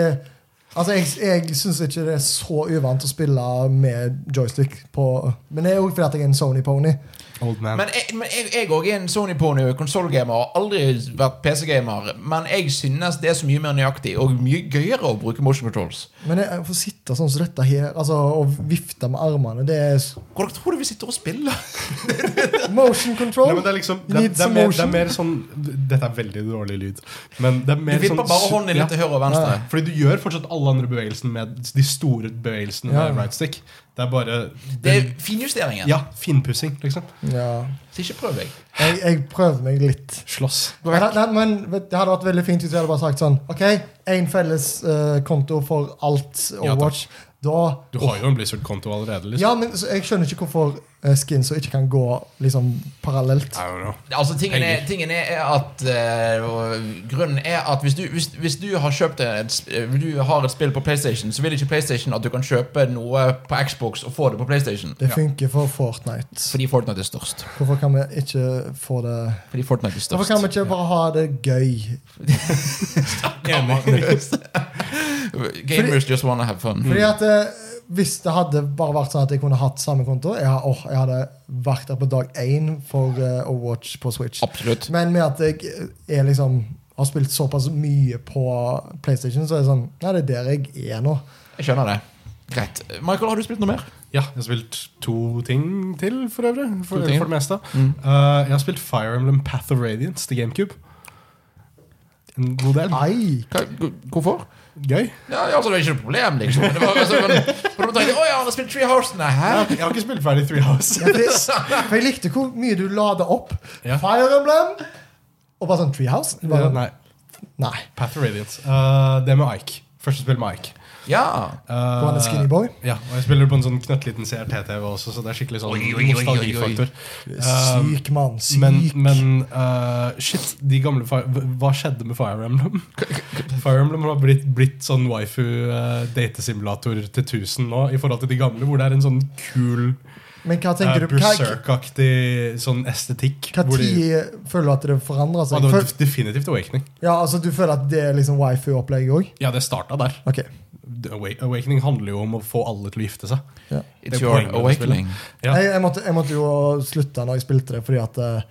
Altså, jeg, jeg syns ikke det er så uvant å spille med joystick på Men det er jo fordi at jeg er en Sony-pony. Old man. Men jeg- men jeg- jeg òg er en Sony-pony og konsollgamer og har aldri vært PC-gamer. Men jeg synes det er så mye mer nøyaktig og mye gøyere å bruke motion controls. Men jeg, jeg får sitte sånn som dette her, altså, og vifte med armene Det er s- Hvordan tror du vi sitter og spiller? motion control! Nei, men det er liksom det, er- Needs det, er some mer, det motion. er mer sånn Dette er veldig dårlig lyd. Men det er Du mer vipper sånn, bare hånden din Ja. litt til høyre og venstre. Fordi du gjør fortsatt alle andre bevegelsene med de store bevegelsene Ja. med right stick. Det er bare Det er finjusteringen. Ja, finpussing, liksom. Ja. Så ikke prøv deg. Jeg, jeg prøver meg litt. Slåss. Nei, nei, men vet, Det hadde vært veldig fint hvis vi hadde bare sagt sånn OK, én felles eh, konto for alt Ja, takk. Overwatch. da Du har jo en Blizzard-konto allerede. liksom Ja, men så jeg skjønner ikke hvorfor eh, skins og ikke kan gå liksom parallelt. I don't know. Altså, tingen er, Penger. tingen er- er at eh, og Grunnen er at hvis du, hvis, hvis du har kjøpt et, sp- eh, du har et spill på PlayStation, så vil ikke PlayStation at du kan kjøpe noe på Xbox og få det på PlayStation. Det funker for Fortnite. Fordi Fortnite er størst. Hvorfor kan vi ikke få det Fordi Fortnite er Hvorfor størst. kan vi ikke bare ha det gøy? Gamers just wanna have Mm. fun. Fordi at eh, Hvis det hadde bare vært sånn at jeg kunne hatt samme konto Jeg, har- åh, jeg hadde vært der på dag én for eh, Overwatch på Switch. Absolutt. Men med at jeg er liksom har spilt såpass mye på PlayStation, så er det sånn Nei, det er der jeg er nå. Jeg skjønner det. Greit. Michael, har du spilt noe mer? Ja, jeg har spilt to ting til, for øvrig. For, To ting. Mm. for det meste. Uh, jeg har spilt Fire Emblem Path of Radiance til GameCube. En god del. Ah. Nei! Hva, hvorfor? Gøy. Ja, altså, det er ikke noe problem, liksom. Det var, altså, men, for da tenkte jeg, Å ja, han har spilt Tree House. Nei, hæ? Jeg har ikke spilt ferdig Three House. Ja, det, for jeg likte hvor mye du lada opp. Ja. Fire Emblem og bare sånn Treehouse. Du Bare, Eh, Nei, nei. Path of Radiance. Uh, det med Ike. Første spill med Ike. Ja. Uh, Og han er skinny boy. Ja, og jeg spiller på en sånn knøttliten CRT-TV også, så det er skikkelig sånn Oi, oi, oi, oi, oi. nostalgifaktor. Um, Syk mann. Syk. men men uh, shit, de gamle Fi- hva- Hva skjedde med Fire Emblem? Fire Emblem har blitt, blitt sånn waifu-datesimulator til 1000 nå, i forhold til de gamle, hvor det er en sånn kul Men hva uh, tenker du Hva, berserk-aktig sånn estetikk. hva hvor de- tid føler du at det forandrer Ja, seg? det var Føl, def- definitivt Awakening. ja, altså Du føler at det er liksom wifi-opplegget òg? Ja, det starta der. Ok. The Awa- Awakening handler jo om å få alle til å gifte seg. Ja. Det It's er your poenget med det awakening. Ja. Jeg, jeg, måtte, jeg måtte jo slutte når jeg spilte det, fordi at eh,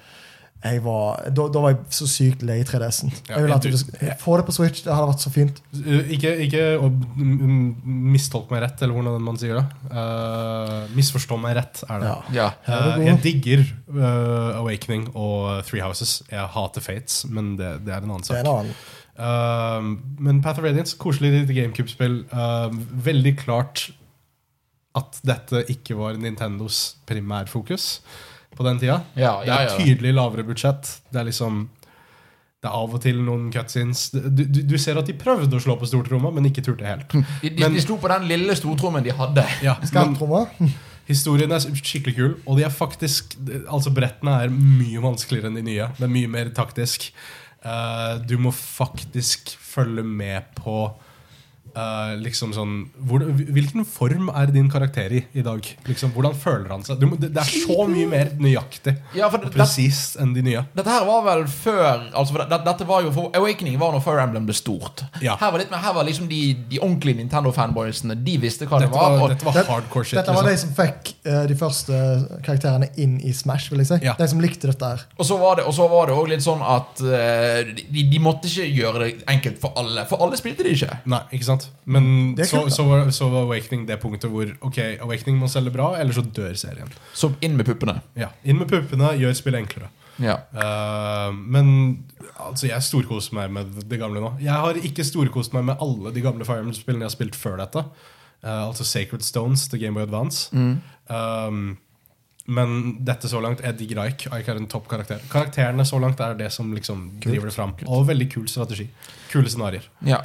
jeg var, da, da var jeg så sykt lei 3DS-en. Ja, jeg ville at du- du skulle Få det på Switch, det hadde vært så fint. Uh, Ikke, ikke å mm, mm, mistolke meg rett, eller hvordan man sier det. Uh, misforstå meg rett, er det. Ja. Ja. Ja, det er Uh, god. jeg digger uh, Awakening og eh, Three Houses. Jeg hater Fates, men det, det er en annen Det er sak. en annen. Uh, men Path of Radiance, koselig lite GameCube-spill. Uh, veldig klart at dette ikke var Nintendos primærfokus på den tida. Ja, Det ja, er ja. tydelig lavere budsjett. Det er liksom Det er av og til noen cutscenes. Du, du, du ser at de prøvde å slå på stortromma, men ikke turte helt. De, de, Men- de sto på den lille stortrommen de hadde. Ja, men Skarptromma? historien er skikkelig kul, og de er faktisk Altså brettene er mye vanskeligere enn de nye. Det er mye mer taktisk. Eh, du må faktisk følge med på eh, liksom sånn hvor, Hvilken form er din karakter i i dag? Liksom, hvordan føler han seg? Du må, det, det er så mye mer nøyaktig Ja, for og det- presist enn de nye. Dette her var vel før altså, for det, Dette var jo for Awakening var når Fire Emblem ble stort. Ja. Her var litt mer, her var liksom de, de ordentlige Nintendo-fanboysene. De visste hva Dette det var. var, og, dette var Det- hardcore shit. Dette var liksom. de som fikk eh, de første karakterene inn i Smash. vil jeg si Ja. De som likte dette her Og så var det, og så var det også litt sånn at eh, de, de måtte ikke gjøre det enkelt for alle, for alle spilte de ikke. Nei, ikke sant? Men Det er så, kult, da. så, var, så var Awakening det punktet hvor Ok, Awakening må selge bra, eller så dør serien. Så inn med puppene. Ja, Inn med puppene, gjør spillet enklere. Ja. Eh, men altså, jeg storkoser meg med det gamle nå. Jeg har ikke storkost meg med alle de gamle Fire Emblem-spillene jeg har spilt før dette. Eh, altså Sacred Stones til Gameboy Advance. Mm. Um, men dette så langt er digg Raik. Ike er en topp karakter. Karakterene så langt er det som liksom driver det fram. Og veldig kul strategi. Kule scenarioer. ja.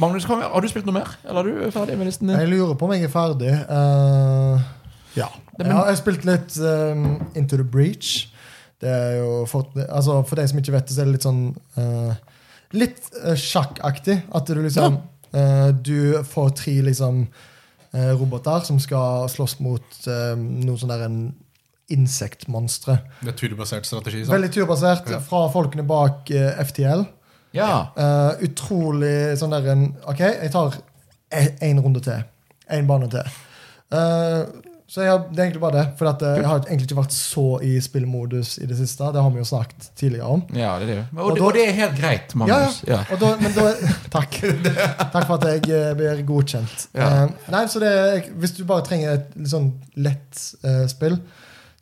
Magnus, kan vi, har du spilt noe mer? Eller er du ferdig med listen din? Jeg lurer på om jeg er ferdig. Eh, ja. Det, ja. men- Jeg har spilt litt eh, Into the Breach. Det er jo for, altså, for deg som ikke vet det, så er det litt sånn eh, Litt eh, sjakkaktig. At du liksom eh, Du får tre liksom eh, roboter som skal slåss mot eh, noen sånne der en insektmonstre. Det er turbasert strategi. Sant? Veldig turbasert Ja. fra folkene bak eh, FTL. Ja. Eh, utrolig sånn der en, OK, jeg tar én runde til. Én bane til. Eh, så jeg har, det er egentlig bare det. For at, eh, jeg har egentlig ikke vært så i spillmodus i det siste. Det har vi jo snakket tidligere om. ja, det er det. jo. Og, Og det- da- og det er helt greit, Magnus. Ja, Og da, men da Takk. Takk for at jeg eh, blir godkjent. Ja. Eh, nei, så det, er- Hvis du bare trenger et litt sånn lett eh, spill,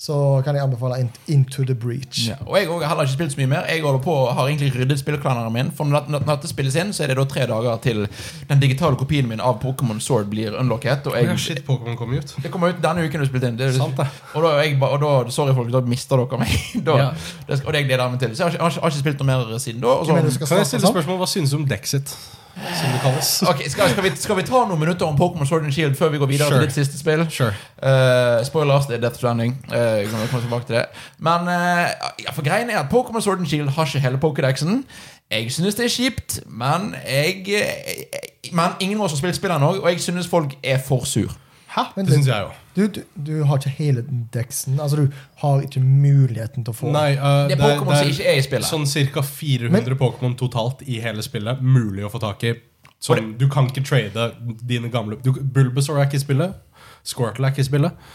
så kan jeg anbefale In- Into the Breach. Ja. Og jeg har heller ikke spilt så mye mer. Jeg holder på og har egentlig ryddet spillkalenderen min. For når når- når dette spilles inn, så er det da tre dager til den digitale kopien min av Pokémon Sword blir unlocket. Og Ja, jeg, shit, Pokémon kom jo ut. det kommer ut denne uken du spilte inn. Det, Sant det. og da, er jeg, ba- og da Sorry, folk, da mister dere meg. Da, Ja. det, skal- og det gleder jeg meg til. Så jeg har, ikke- jeg har, ikke- jeg har ikke spilt noe mer siden da. Og Hvem er så, det som skal Kan jeg starte stille sånn? spørsmål Hva synes du om Dexit? Som det kalles. Ok, skal, skal, vi, skal vi ta noen minutter om Pokémon Sword and Shield før vi går videre Sure. til ditt siste spill? Sure. Eh, spoilers, det er Death Stranding. Eh, vi kommer komme tilbake til det. Men eh, ja, for greien er at Pokémon Sword and Shield har ikke hele Pokédexen. Jeg synes det er kjipt, men jeg, jeg Men ingen av oss har spilt spillene òg, og jeg synes folk er for sur. Hæ? Vent Det litt. syns jeg jo. Du, du, du har ikke hele deksen. Altså, du har ikke muligheten til å få Nei, uh, Det er Pokémon som ikke er i spillet. Sånn ca. 400 Pokémon totalt i hele spillet. Mulig å få tak i. Sånn, du kan ikke trade dine gamle du, Bulbasaur er ikke i spillet. Squirtle er ikke i spillet.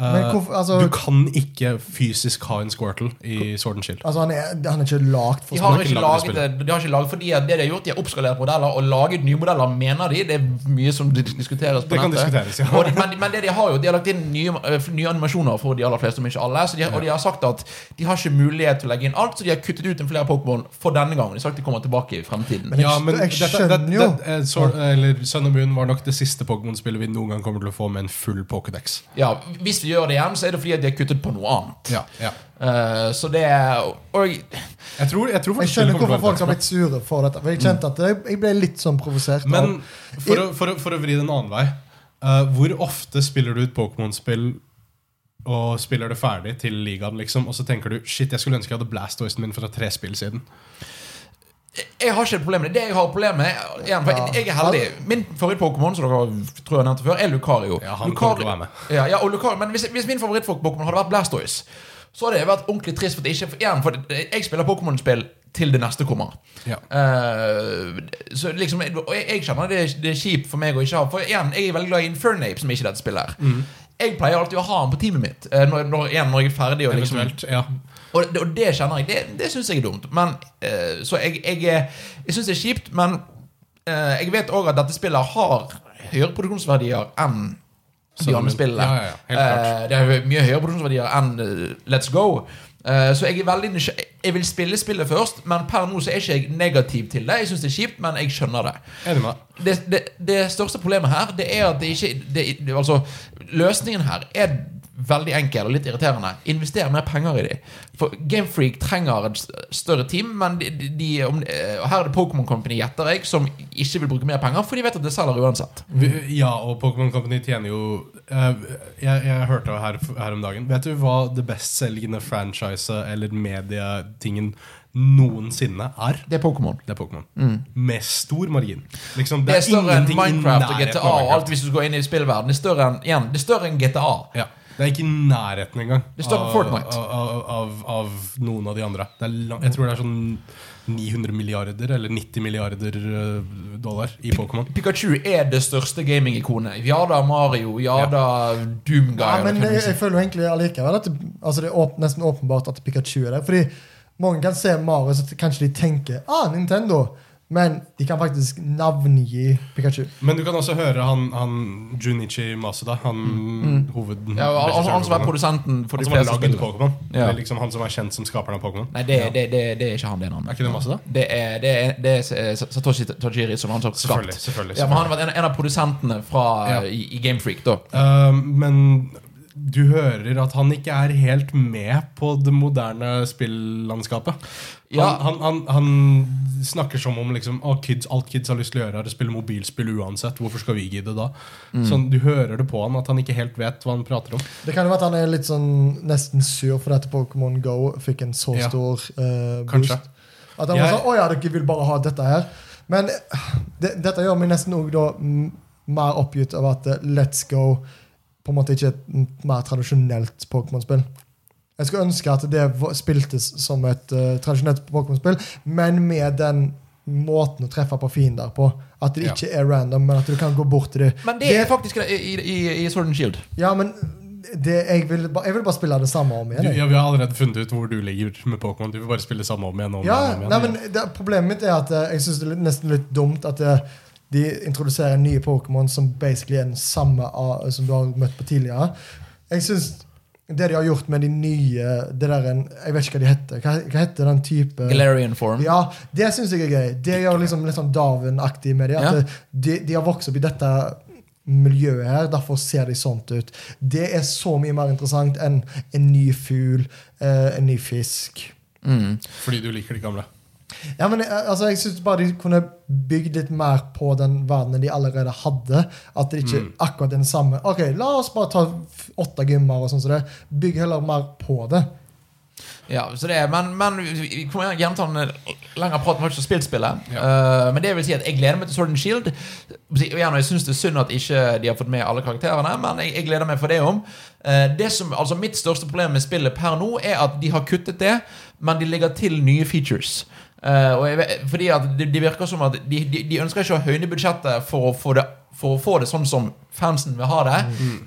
Uh, Men hvorfor- altså- du kan ikke fysisk ha en Squirtle i Sword and Shield. Altså, han er, han er ikke lagd for De har sånn. ikke ikke laget laget det, de har ikke laget fordi at det de har gjort, de har oppskalert modeller og laget nye modeller, mener de. Det er mye som dis- diskuteres. på Det kan nettet. diskuteres, ja. Og de, men, men det de har jo, de har lagt inn nye, eh, nye animasjoner for de aller fleste, om ikke alle. Så de, har- og de har sagt at de har ikke mulighet til å legge inn alt, så de har kuttet ut en flere Pokémon for denne gangen. De har sagt de kommer tilbake i fremtiden. Men jeg, Ja, men jeg dette- skjønner dette- jo dette- eh, Sword- eller Sun and Moon var nok det siste Pokémon-spillet vi noen gang kommer til å få med en full Pokédex. Ja, hvis vi gjør det igjen, så er det fordi at de har kuttet på noe annet. Ja, ja. Eh, så det er Og Jeg tror, jeg tror jeg faktisk skjønner spillet kommer til hvorfor å være folk har blitt sure for dette. For Jeg kjente at jeg, jeg ble litt sånn provosert. av- Men for I- å, for å, for å vri det en annen vei eh, Hvor ofte spiller du et Pokémon-spill og spiller det ferdig til ligaen, liksom, og så tenker du Shit, jeg skulle ønske jeg hadde Blastoisen min fra tre spill siden. Jeg har ikke et problem med det. Det jeg har et problem med igjen, for jeg- Jeg er heldig. Min favoritt-Pokémon som dere har- tror jeg nevnte før, er Lucario. Ja, han Lucario- kommer til å være med. Ja, ja, og Lucario men hvis, hvis min favoritt-Pokémon hadde vært Blastoise, så hadde jeg vært ordentlig trist. For at jeg ikke, for, igjen, for det- jeg spiller Pokémon-spill til det neste kommer. Ja. Eh, så liksom, og jeg, jeg kjenner det, det er kjipt for meg å ikke ha For igjen, jeg er veldig glad i Infernape, som ikke er dette spillet her. Mm. Jeg pleier alltid å ha han på teamet mitt eh, når, når, igjen, når jeg er ferdig. Og liksom, Eventuelt. Ja. og det, og det kjenner jeg. Det, det syns jeg er dumt. Men, eh, så jeg, jeg, jeg syns det er kjipt, men eh, jeg vet òg at dette spillet har høyere produksjonsverdier enn de Så- andre spillene. Ja, ja, ja, helt klart. Eh, det er hø- mye høyere produksjonsverdier enn eh, Let's Go. Eh, så jeg er veldig nysgj- Jeg vil spille spillet først, men per nå så er ikke jeg negativ til det. Jeg syns det er kjipt, men jeg skjønner det Enig med deg. det, det, det største problemet her Det er at det ikke det, det, altså, Løsningen her er veldig enkel og litt irriterende. Invester mer penger i dem. For Gamefreak trenger et st- større team, men de, de, de, om, eh, og her er det Pokémon Company, gjetter jeg, som ikke vil bruke mer penger, for de vet at det selger uansett. Vi- Ja, og Pokémon Company tjener jo eh, Jeg, jeg hørte her, her om dagen Vet du hva det bestselgende franchise eller medietingen noensinne er? Det er Pokémon. Det er Pokémon. Med stor margin. Liksom, Mm. Det er større enn ingenting i Minecraft og nærheten av GTA og Minecraft. alt hvis du går inn i spillverden Det er større enn, igjen, det er større enn GTA. Ja. Det er ikke i nærheten engang Det står på av- Fortnite. Av, av, av, av noen av de andre. Det er lang, jeg tror det er sånn 900 milliarder eller 90 milliarder eh, dollar i Pokémon. Pikachu er det største gaming-ikonet. Ja da, Mario. Ja da, Doomguy. ja, men eller eh, hva jeg, det jeg føler jo egentlig allikevel at det, altså det er åp nesten åpenbart at Pikachu er der. Fordi mange kan se Mario, så kanskje de tenker ah, Nintendo. Men de kan faktisk navngi Pikachu. Men du kan også høre han, han Junichi Masuda, han hoved... Mm. Ja, og han, han som er produsenten for de Han som har fleste laget spillene. Pokémon. Ja. Eller liksom han som er kjent som skaperen av Pokémon. Nei, det, det, det, det er ikke han. Det er en Er annen. ikke det Masuda? Det er, det er, det er Satoshi Tajiri som han har skapt. Selvfølgelig. selvfølgelig, Ja, men han har vært en, en av produsentene fra, Ja. i, i Gamefreak. da Eh, men du hører at han ikke er helt med på det moderne spillandskapet. Han, Ja. han, han, han snakker som om liksom, «Å, kids, alt kids har lyst til å gjøre, er å spille mobilspill uansett. Hvorfor skal vi gidde da? Mm. Sånn, du hører det på han at han ikke helt vet hva han prater om. Det kan jo være at han er litt sånn nesten sur for dette Pokémon Go fikk en så Ja. stor eh, boost. Kanskje. At han var Jeg- sånn Å ja, dere vil bare ha dette her. Men det, dette gjør meg nesten også da mm, mer oppgitt av at eh, Let's Go på en måte ikke er et mm, mer tradisjonelt Pokémon-spill. Jeg skulle ønske at det var- spiltes som et eh, tradisjonelt Pokémon-spill, men med den måten å treffe på fiender på. At det Ja. ikke er random, men at du kan gå bort til dem. Men det er faktisk det i, i, i Sword and Shield. Ja, men det, jeg, vil ba, jeg vil bare spille det samme om Du, igjen. jeg. ja, vi har allerede funnet ut hvor du ligger med Pokémon. Du vil bare spille samme om igjen. Om Ja, igjen, om nei, igjen. men det, Problemet mitt er at eh, jeg synes det er litt- nesten litt dumt at eh, de introduserer nye Pokémon som basically er den samme av- som du har møtt på tidligere. Jeg synes det de har gjort med de nye det der en, Jeg vet ikke hva de heter. Hva, hva heter den type Galarian Form. Ja, Det syns jeg er gøy. Det gjør liksom litt sånn Darwin-aktig med det. At Ja. eh, de, de har vokst opp i dette miljøet her, derfor ser de sånt ut. Det er så mye mer interessant enn en ny fugl, eh, en ny fisk. Mm. Fordi du liker de gamle. Ja, men eh, altså, Jeg syns bare de kunne bygd litt mer på den verdenen de allerede hadde. At det ikke er akkurat den samme Ok, la oss bare ta f- åtte gymmer og sånn som det. Bygg heller mer på det. Ja, så det er, men, men vi- vi kommer gjerne- gjerne ta en lengre prat om faktisk spillet. spillet Eh, men det vil si at jeg gleder meg til Sword and Shield. Og igjen, og Jeg syns det er synd at ikke de har fått med alle karakterene, men jeg, jeg gleder meg for det om. Eh, det som, altså Mitt største problem med spillet per nå er at de har kuttet det, men de legger til nye features. Eh, og jeg, vet- fordi at det, det virker som at de, de, de ønsker ikke å høyne budsjettet for å få det for å få det sånn som fansen vil ha det.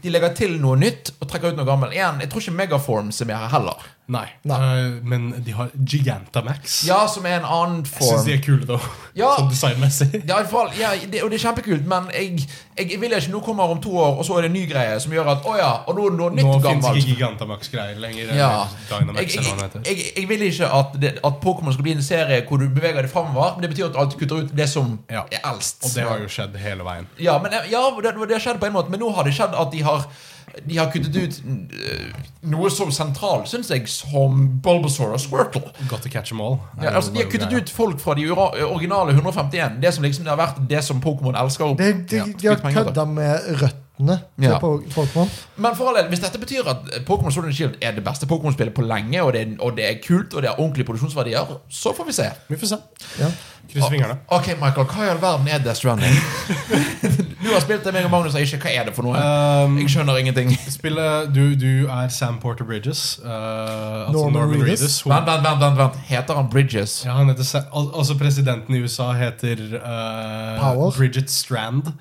De legger til noe nytt og trekker ut noe gammelt. Igjen, jeg tror ikke Megaforms er med her heller. Nei. Nei. Eh, men de har Gigantamax. Ja, som er en annen Jeg syns form. de er kule, da. Ja. Sånn designmessig. Ja, i hvert fall, ja, det, og det er kjempekult, men jeg, jeg vil ikke nå kommer om to år, og så er det en ny greie som gjør at Å ja, og nå er det noe nytt Nå fins gammelt. ikke Gigantamax-greier lenger. Ja. eller Jeg, Dynamax, jeg, eller hva den jeg, heter. jeg, jeg vil ikke at, det, at Pokémon skal bli en serie hvor du beveger deg framover, men det betyr at alt kutter ut det som Ja. er eldst. Og det har jo skjedd hele veien. Ja, men, ja det, det har skjedd på en måte, men nå har det skjedd at de har de har kuttet ut øh, noe så sentralt, syns jeg, som Bulbasaur og Squirtle. Got to catch them all. Ja, altså, de har kuttet ut folk fra de ura- originale 151. Det som liksom har vært det som Pokémon elsker. og- De, de, Ja, de har skutt penger, da. kødda med røttene til Ja. Po- Pokémon. Men for all del, hvis dette betyr at Pokémon Sword and Shield er det beste Pokémon-spillet på lenge, og det, er, og det er kult, og det har ordentlige produksjonsverdier, så får vi se. Vi får se. Ah. Ja. Kryss fingrene. Ok, Michael, hva i all verden er Death Stranding? du har spilt det meg og Magnus har ikke. Hva er det for noe? Um, Jeg skjønner ingenting. spillet du, du er Sam Porter Bridges. eh, altså Norman Norman Reedus. Reedus. Vent, hoved- vent, vent, vent, vent. Heter han Bridges? Ja, han heter Sa- al altså presidenten i USA heter eh, Powell. Bridget Strand.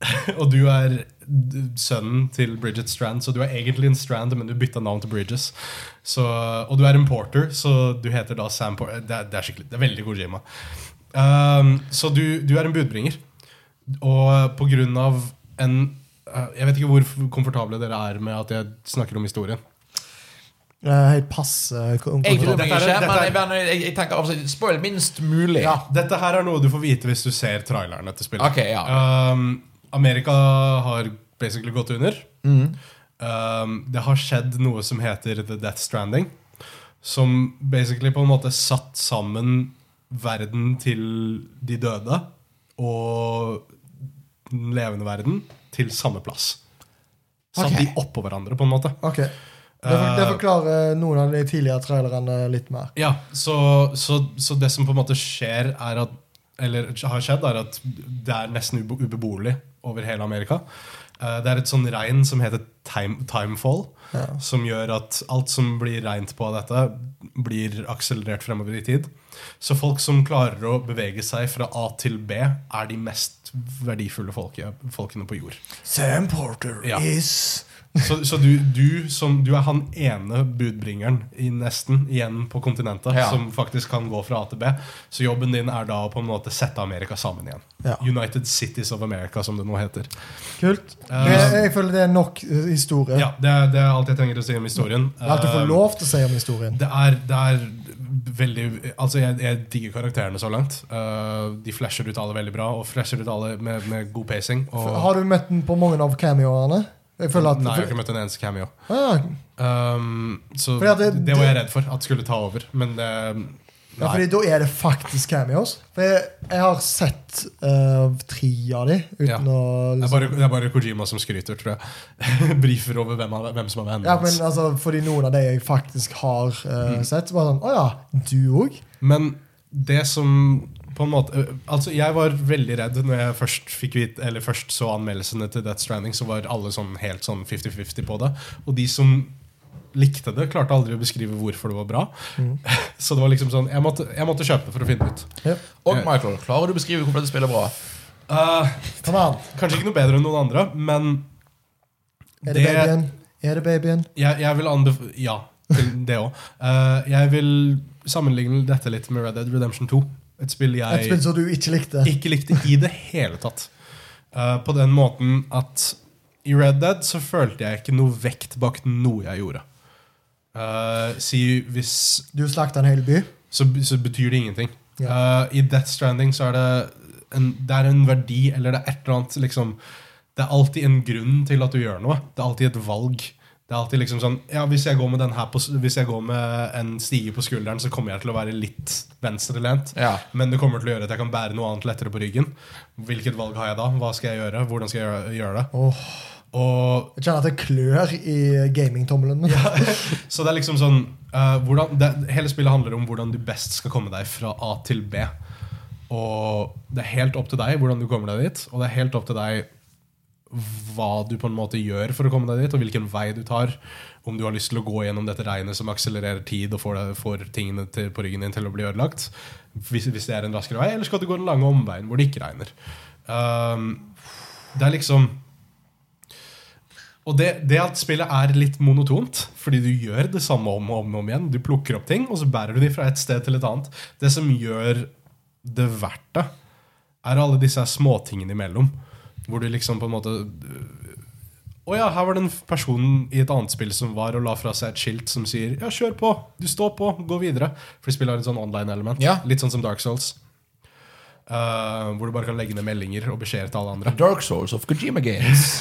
og du er d- sønnen til Bridget Strand, så du er egentlig en Strand, men du bytta navn til Bridges. Så, og du er en porter, så du heter da Sam Porter. Det, er- det er skikkelig, det er veldig Kojima. Um, så du, du er en budbringer. Og på grunn av en eh, Jeg vet ikke hvor f- komfortable dere er med at jeg snakker om historien. Eh, Helt passe Jeg bryr komfortabel. meg Dette er- ikke, men jeg, dette men jeg, jeg tenker altså, spoil minst mulig. Ja, dette her er noe du får vite hvis du ser traileren etter spillet. Ok, ja. Um, Amerika har basically gått under. Um, det har skjedd noe som heter The Death Stranding. Som basically på en måte satt sammen verden til de døde og den levende verden til samme plass. Satt Ok. de oppå hverandre, på en måte. Ok, det, for, det forklarer noen av de tidligere trailerne litt mer. Ja, så, så, så det som på en måte skjer er at Eller har skjedd, er at det er nesten ube- ubeboelig over hele Amerika. Eh, Det er et sånn regn som heter time, timefall, som gjør at alt som blir regnt på av dette, blir akselerert fremover i tid. Så folk som klarer å bevege seg fra A til B, er de mest verdifulle folke, folkene på jord. Sam Porter Ja. is Så, så du, du, som, du er han ene budbringeren i nesten igjen på kontinentet Ja. som faktisk kan gå fra A til B. Så jobben din er da å på en måte sette Amerika sammen igjen. Ja. United Cities of America, som det nå heter. Kult. Eh, Jeg, jeg føler det er nok eh, historie. Ja, det, er- det er alt jeg trenger å si om historien. Eh, Det er alt du får lov til å si om historien. Det er, det er veldig Altså, jeg, jeg digger karakterene så langt. Eh, de flasher ut alle veldig bra, og flasher ut alle med, med god pacing. Og, Har du møtt den på mange av cameoene? Jeg føler at Nei, jeg har ikke møtt en eneste cameo. Ah, Um, så Fordi at det, det- var jeg redd for at skulle ta over, men det ja, fordi Nei. da er det faktisk cameos. For jeg, jeg har sett eh, tre av de uten Ja. å Det er, liksom, bare, det er bare Kojima som skryter, tror jeg. Briefer over hvem, av- hvem som er vennen ja, men hans. altså, Fordi noen av de jeg faktisk har eh, Mm. sett, så bare sånn Å ja, du òg? Men det som på en måte øh, Altså, jeg var veldig redd når jeg først fikk vite Eller først så anmeldelsene til Death Stranding, så var alle sånn helt sånn 50-50 på det. Og de som likte det, klarte aldri å beskrive hvorfor det var bra. Mm. Så det var liksom sånn Jeg måtte, jeg måtte kjøpe for å finne ut. Og Michael, klarer du å beskrive hvorfor dette spillet er bra? Eh, Kom an. kanskje ikke noe bedre enn noen andre, men Er det, babyen? Er det babyen? Jeg, jeg vil anbef... Ja, til det òg. jeg vil sammenligne dette litt med Red Dead Redemption 2. Et spill jeg Et spill som du ikke likte? ikke likte i det hele tatt. Eh, på den måten at i Red Dead så følte jeg ikke noe vekt bak noe jeg gjorde. Eh, si hvis Du slakta en hel by? så, så betyr det ingenting. Ja. Eh, I Death Stranding så er det en, det er en verdi, eller det er et eller annet liksom, Det er alltid en grunn til at du gjør noe. Det er alltid et valg. Det er alltid liksom sånn Ja, hvis jeg går med, den her på, s- hvis jeg går med en stige på skulderen, så kommer jeg til å være litt venstrelent. Ja. Men det kommer til å gjøre at jeg kan bære noe annet lettere på ryggen. Hvilket valg har jeg da? Hva skal jeg gjøre? Hvordan skal jeg gjøre- gjøre det? Åh, Og jeg kjenner at det klør i gamingtommelen min. Så det er liksom sånn eh, hvordan, det, Hele spillet handler om hvordan du best skal komme deg fra A til B. Og det er helt opp til deg hvordan du kommer deg dit, og det er helt opp til deg hva du på en måte gjør for å komme deg dit, og hvilken vei du tar. Om du har lyst til å gå gjennom dette regnet som akselererer tid og får, deg, får tingene til, på ryggen din til å bli ødelagt. Hvis, hvis det er en raskere vei, eller skal du gå den lange omveien hvor det ikke regner. Um, det er liksom og det, det at spillet er litt monotont, fordi du gjør det samme om og om, og om igjen, du plukker opp ting, og så bærer du de fra et sted til et annet Det som gjør det verdt det, er alle disse her småtingene imellom. Hvor du liksom på en måte Å ja, her var den personen i et annet spill som var og la fra seg et skilt som sier Ja, kjør på! Du står på! Gå videre! For spillet har et sånn online-element. Ja. Litt sånn som Dark Souls. Eh, hvor du bare kan legge ned meldinger og beskjeder til alle andre. Dark Souls of Kojima Games.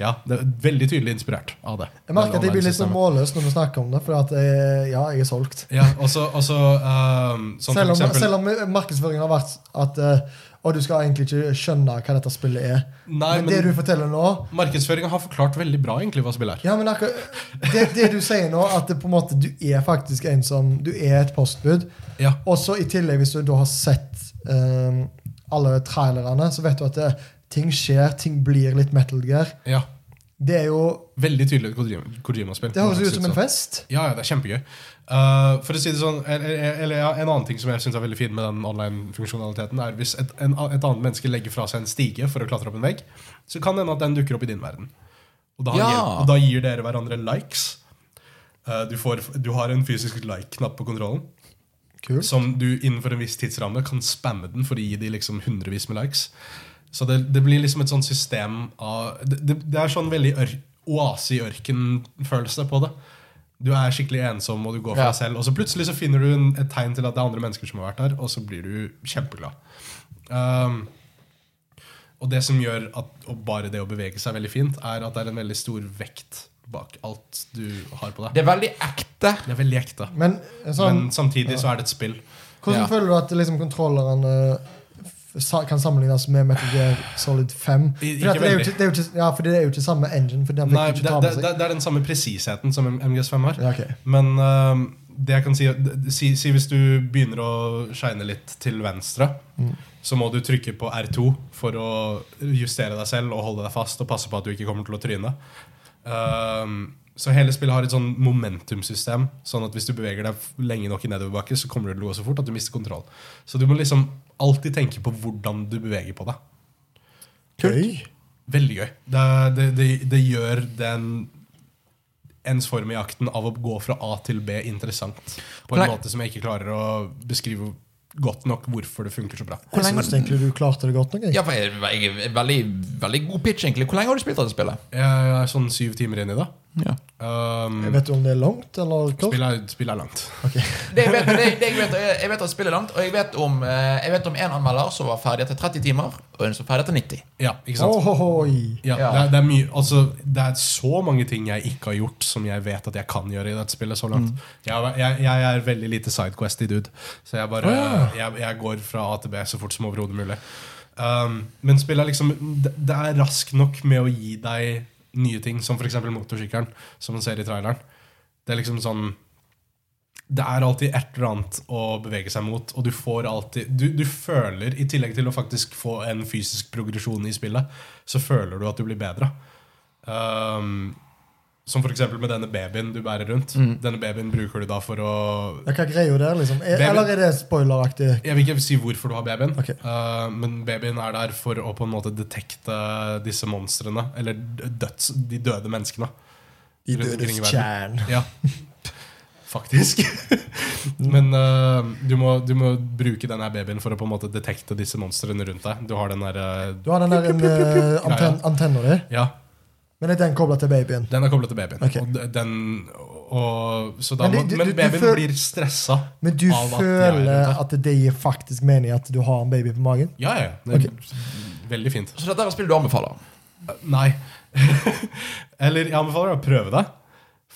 Ja, det er Veldig tydelig inspirert av det. Jeg merker at jeg blir litt sånn Online-systemet. målløs når du snakker om det, for at jeg, ja, jeg er solgt. Ja, også, også ehm, sånn Selv for om, eksempel selv om markedsføringen har vært at eh, Og du skal egentlig ikke skjønne hva dette spillet er. Nei, men, men- det du forteller nå Markedsføringa har forklart veldig bra egentlig hva spill er. ja, men akkur- det, det du sier nå, at det på en måte du er faktisk en som Du er et postbud. Ja. Og så i tillegg, hvis du da har sett eh, alle trailerne, så vet du at det, ting skjer, ting blir litt Metal Gear. ja. Det er jo Veldig tydelig et Kojima- Kojima-spill. Det høres Det ut som en sånn. fest. Ja, ja, det er kjempegøy. Eh, for å si det sånn, eller, eller ja, En annen ting som jeg synes er veldig fin med den online-funksjonaliteten, er hvis et, en, et annet menneske legger fra seg en stige for å klatre opp en vegg, så kan det hende at den dukker opp i din verden. Og da, Ja. gir, og da gir dere hverandre likes. Eh, du, får, du har en fysisk like-knapp på kontrollen. Kult. Som du innenfor en viss tidsramme kan spamme den for å gi de liksom hundrevis med likes. Så det, det blir liksom et sånt system av Det, det, det er sånn veldig ør, oase i ørken-følelse på det. Du er skikkelig ensom, og du går for Ja. deg selv. Og så plutselig så finner du en, et tegn til at det er andre mennesker som har vært der, og så blir du kjempeglad. Um, og det som gjør at og bare det å bevege seg er veldig fint, er at det er en veldig stor vekt bak alt du har på deg. Det er veldig ekte. Det er veldig ekte. Men sånn, Men samtidig så er det et spill. hvordan Ja. føler du at liksom, kontrollerne eh, sa- kan sammenlignes med Metal Gear Solid 5? I- Fordi ikke at det er jo veldig. ikke, det er jo ikke, ja, for det er jo ikke samme engine. For den fikk Nei, du det, ikke ta det, med det, seg. det er den samme presisheten som MGS5 har. Ja, ok. Men øhm, det jeg kan si, si, si hvis du begynner å shine litt til venstre, Mm. så må du trykke på R2 for å justere deg selv og holde deg fast og passe på at du ikke kommer til å tryne. Øhm, så hele spillet har et sånn momentumsystem, sånn at hvis du beveger deg f- lenge nok i nedoverbakke, så kommer du til å gå så fort at du mister kontroll. Så du må liksom alltid tenke på hvordan du beveger på deg. Kult. Veldig gøy. Det, det, det, det gjør den ens form i jakten av å gå fra A til B interessant. På en Nei. måte som jeg ikke klarer å beskrive godt nok hvorfor det funker så bra. Hvor Jeg lenge- syns egentlig du klarte det godt nok. Jeg. Ja, for jeg, jeg er veldig, veldig god pitch, egentlig. Hvor lenge har du spilt dette spillet? Jeg er sånn syv timer inn i det. Ja. Um, Jeg vet du om det er langt eller kort? spillet, er, spillet er langt. Det jeg, vet, det, det jeg, vet, jeg vet at spillet er langt, og jeg vet om eh, Jeg vet om en anmelder som var ferdig etter 30 timer, og en som var ferdig etter 90. Ja, ikke sant? Ohohoi. Ja, Ja. Det, er, det, er mye, altså, det er så mange ting jeg ikke har gjort, som jeg vet at jeg kan gjøre i dette spillet så langt. Jeg, jeg, jeg er veldig lite sidequesty dude, så jeg bare jeg, jeg går fra A til B så fort som overhodet mulig. Um, men spillet er liksom det, det er rask nok med å gi deg nye ting, som f.eks. motorsykkelen, som man ser i traileren. Det er liksom sånn det er alltid et eller annet å bevege seg mot, og du får alltid Du, du føler, i tillegg til å faktisk få en fysisk progresjon i spillet, så føler du at du blir bedre. Um, som f.eks. med denne babyen du bærer rundt. Denne babyen bruker du da for å Ja, hva greier det er, liksom? Det Er, er vel- eller er det spoileraktig? Jeg vil ikke si hvorfor du har babyen, Ok. eh, men babyen er der for å på en måte detekte disse monstrene, eller døds, de døde menneskene. I Rundt omkring i dødens verden. tjern. Ja. Faktisk. Men eh, du, må, du må bruke denne babyen for å på en måte detekte disse monstrene rundt deg. Du har den der eh, Du har den der en, eh, anten, antenna di, Ja, men er den kobla til babyen? den er koblet til babyen. Ok. Og d- den, og, så da Men må, du- du- men du- du babyen føl- blir stressa. Men du Av at de er føler rundt at det gir faktisk mening at du har en baby på magen? Ja, ja. ja. Det er Veldig fint. Så dette er et spill du anbefaler. Eh, Nei. Eller jeg anbefaler deg å prøve det.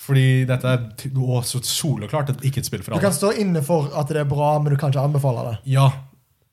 Fordi dette er t- å, så soleklart et- ikke et spill for Du alle. kan stå inne for at det er bra, men du kan ikke anbefale det. Ja.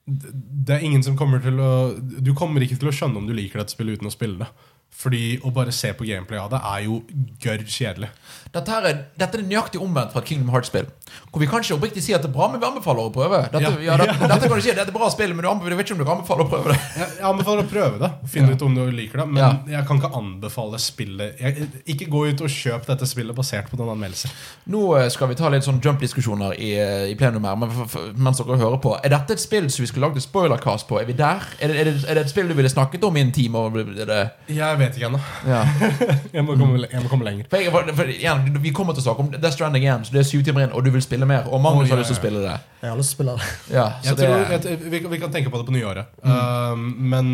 d- Det er ingen som kommer til å Du kommer ikke til å skjønne om du liker dette spillet uten å spille det. Fordi å bare se på gameplay av det er jo gørr kjedelig. Dette, her er, dette er nøyaktig omvendt fra et Kingdom Hearts-spill. Hvor vi kan ikke oppriktig si at det er bra, men vi anbefaler å prøve. Dette, ja. Ja. dette, dette kan du si, dette er bra spill, men du anbefaler, jeg vet ikke om du kan anbefale å prøve det. Jeg, jeg anbefaler å prøve det. Finne ut om du liker det. Men Ja. jeg kan ikke anbefale spillet jeg, Ikke gå ut og kjøp dette spillet basert på noen anmeldelser. Nå eh, skal vi ta litt sånn jump-diskusjoner i, eh, i plenum her, men for, for, mens dere hører på. Er dette et spill som vi skulle lagd et spoilercast på? Er vi der? Er det, er, det, er det et spill du ville snakket om i en time? Og, er det, Jeg vet ikke ennå. ja. Jeg, må komme- jeg må komme lenger. For, jeg, for, for igjen, Vi kommer til å snakke om Death Stranding igjen, så det er syv timer inn, og du vil spille mer. Og Magnus Å, ja, har lyst til å ja. spille det. Jeg har lyst til å spille det. Ja, så Jeg det, tror, jeg, eh, vi, kan- vi kan tenke på det på nyåret. Um, men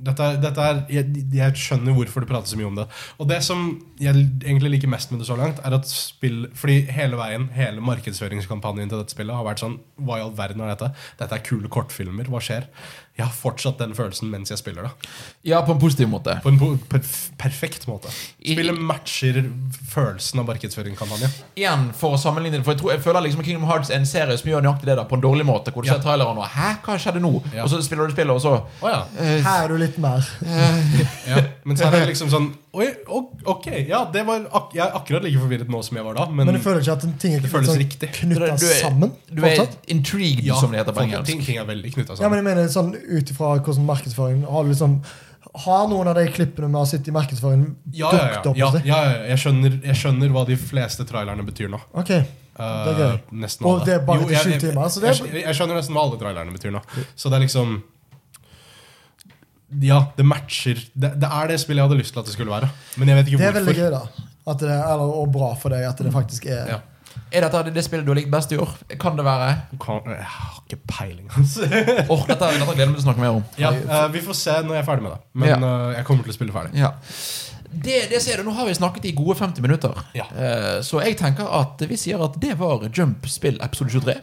dette, er- dette er jeg, jeg skjønner hvorfor det prates så mye om det. Og det som jeg egentlig liker mest med det så langt, er at spill Fordi hele veien, hele markedsføringskampanjen til dette spillet har vært sånn Hva i all verden er dette? Dette er kule kortfilmer. Hva skjer? Jeg har fortsatt den følelsen mens jeg spiller det. ja, på en positiv måte. På en po- perf perfekt måte. I- Spillet matcher følelsen av markedsføringskampanjen. Igjen, for å sammenligne det, for jeg, tror, jeg føler liksom Kingdom Hearts er en serie som gjør nøyaktig det der på en dårlig måte. Hvor du Ja. ser traileren og 'Hæ, hva skjedde nå?' Ja. Og så spiller du spillet, og så Å ja. eh, Her er du litt mer. Ja, men så er det liksom sånn Oi, ok, ok, ja, det var ak jeg er akkurat like forvirret nå som jeg var da. Men, Men du føler ikke at en ting er mm. Det føles sånn riktig. knyttet Du er- sammen? Du er fortsatt? intrigued, ja, som det heter på folk- engelsk. ting, ting er veldig knytta Ja, sammen. men jeg mener sånn ut ifra hvordan markedsføringen Har du liksom Har noen av de klippene vi har sett i markedsføringen, Ja, ja, ja, dukket opp? altså? ja, hos deg? ja, ja, jeg, skjønner, jeg skjønner hva de fleste trailerne betyr nå. Ok, Eh, det er gøy. Nesten Og alle. det er bare Jo, til jeg- sju jeg- timer, så jeg, det er- skj- jeg skjønner nesten hva alle trailerne betyr nå. Så det er liksom Ja, det matcher det, det er det spillet jeg hadde lyst til at det skulle være. Men jeg vet ikke Det er veldig hvorfor. Mm. gøy, da. At det, eller, og bra for deg at det faktisk er Ja. Er dette det, det spillet du har likt best i år? Kan det være? Kan, jeg har ikke peiling, altså. Åh, dette, dette gleder jeg meg til å snakke mer om. Ja, eh, vi får se når jeg er ferdig med det. Men eh, jeg kommer til å spille ferdig. Ja. Det, det ser du, Nå har vi snakket i gode 50 minutter, Ja. Eh, så jeg tenker at vi sier at det var Jump spill episode 23.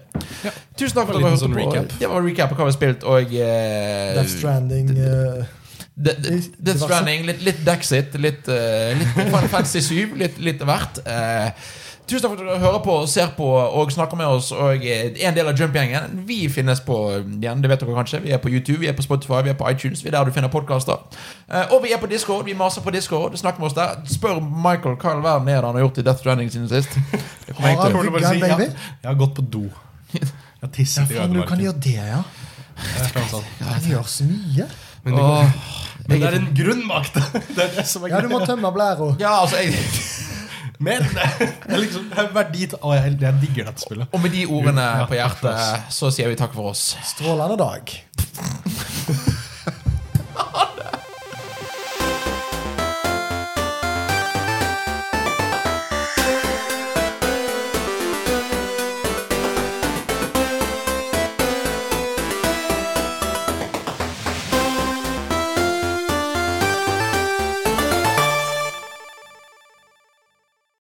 Ja. Tusen takk for at Det var dere hørte en liten på. sånn recap. Det var recap på hva vi har spilt, og eh, Death Stranding eh, De- de- Litt Death diverse. Stranding, litt, litt Dexit, litt, uh, litt Final Fantasy 7, litt, litt av hvert. Eh, tusen takk for at dere hører på, ser på og snakker med oss. Og eh, er en del av Jump-gjengen. Vi finnes på igjen, det vet dere kanskje. Vi er på YouTube, vi er på Spotify, vi er på iTunes. Vi er der du finner podkaster. og vi er på Discord. Vi maser på Discord. Snakk med oss der. Spør Michael hva i all verden er det han har gjort i Death Stranding siden sist. Det kommer jeg Har til. han- å- Jeg, Gun, jeg, baby? jeg, har gått på do. Jeg har tisset i Faen, du kan ødemarken. gjøre det, ja? Det er sånn. Han gjør så mye. Men, det, Åh, men det jeg- er en grunn bak det. Det er det som er Ja, du må greia. tømme blæra. Ja, altså jeg Men det er liksom det er verdi til Å, jeg, jeg digger dette spillet. Og med de ordene Ja, på hjertet så sier vi takk for oss. Strålende dag.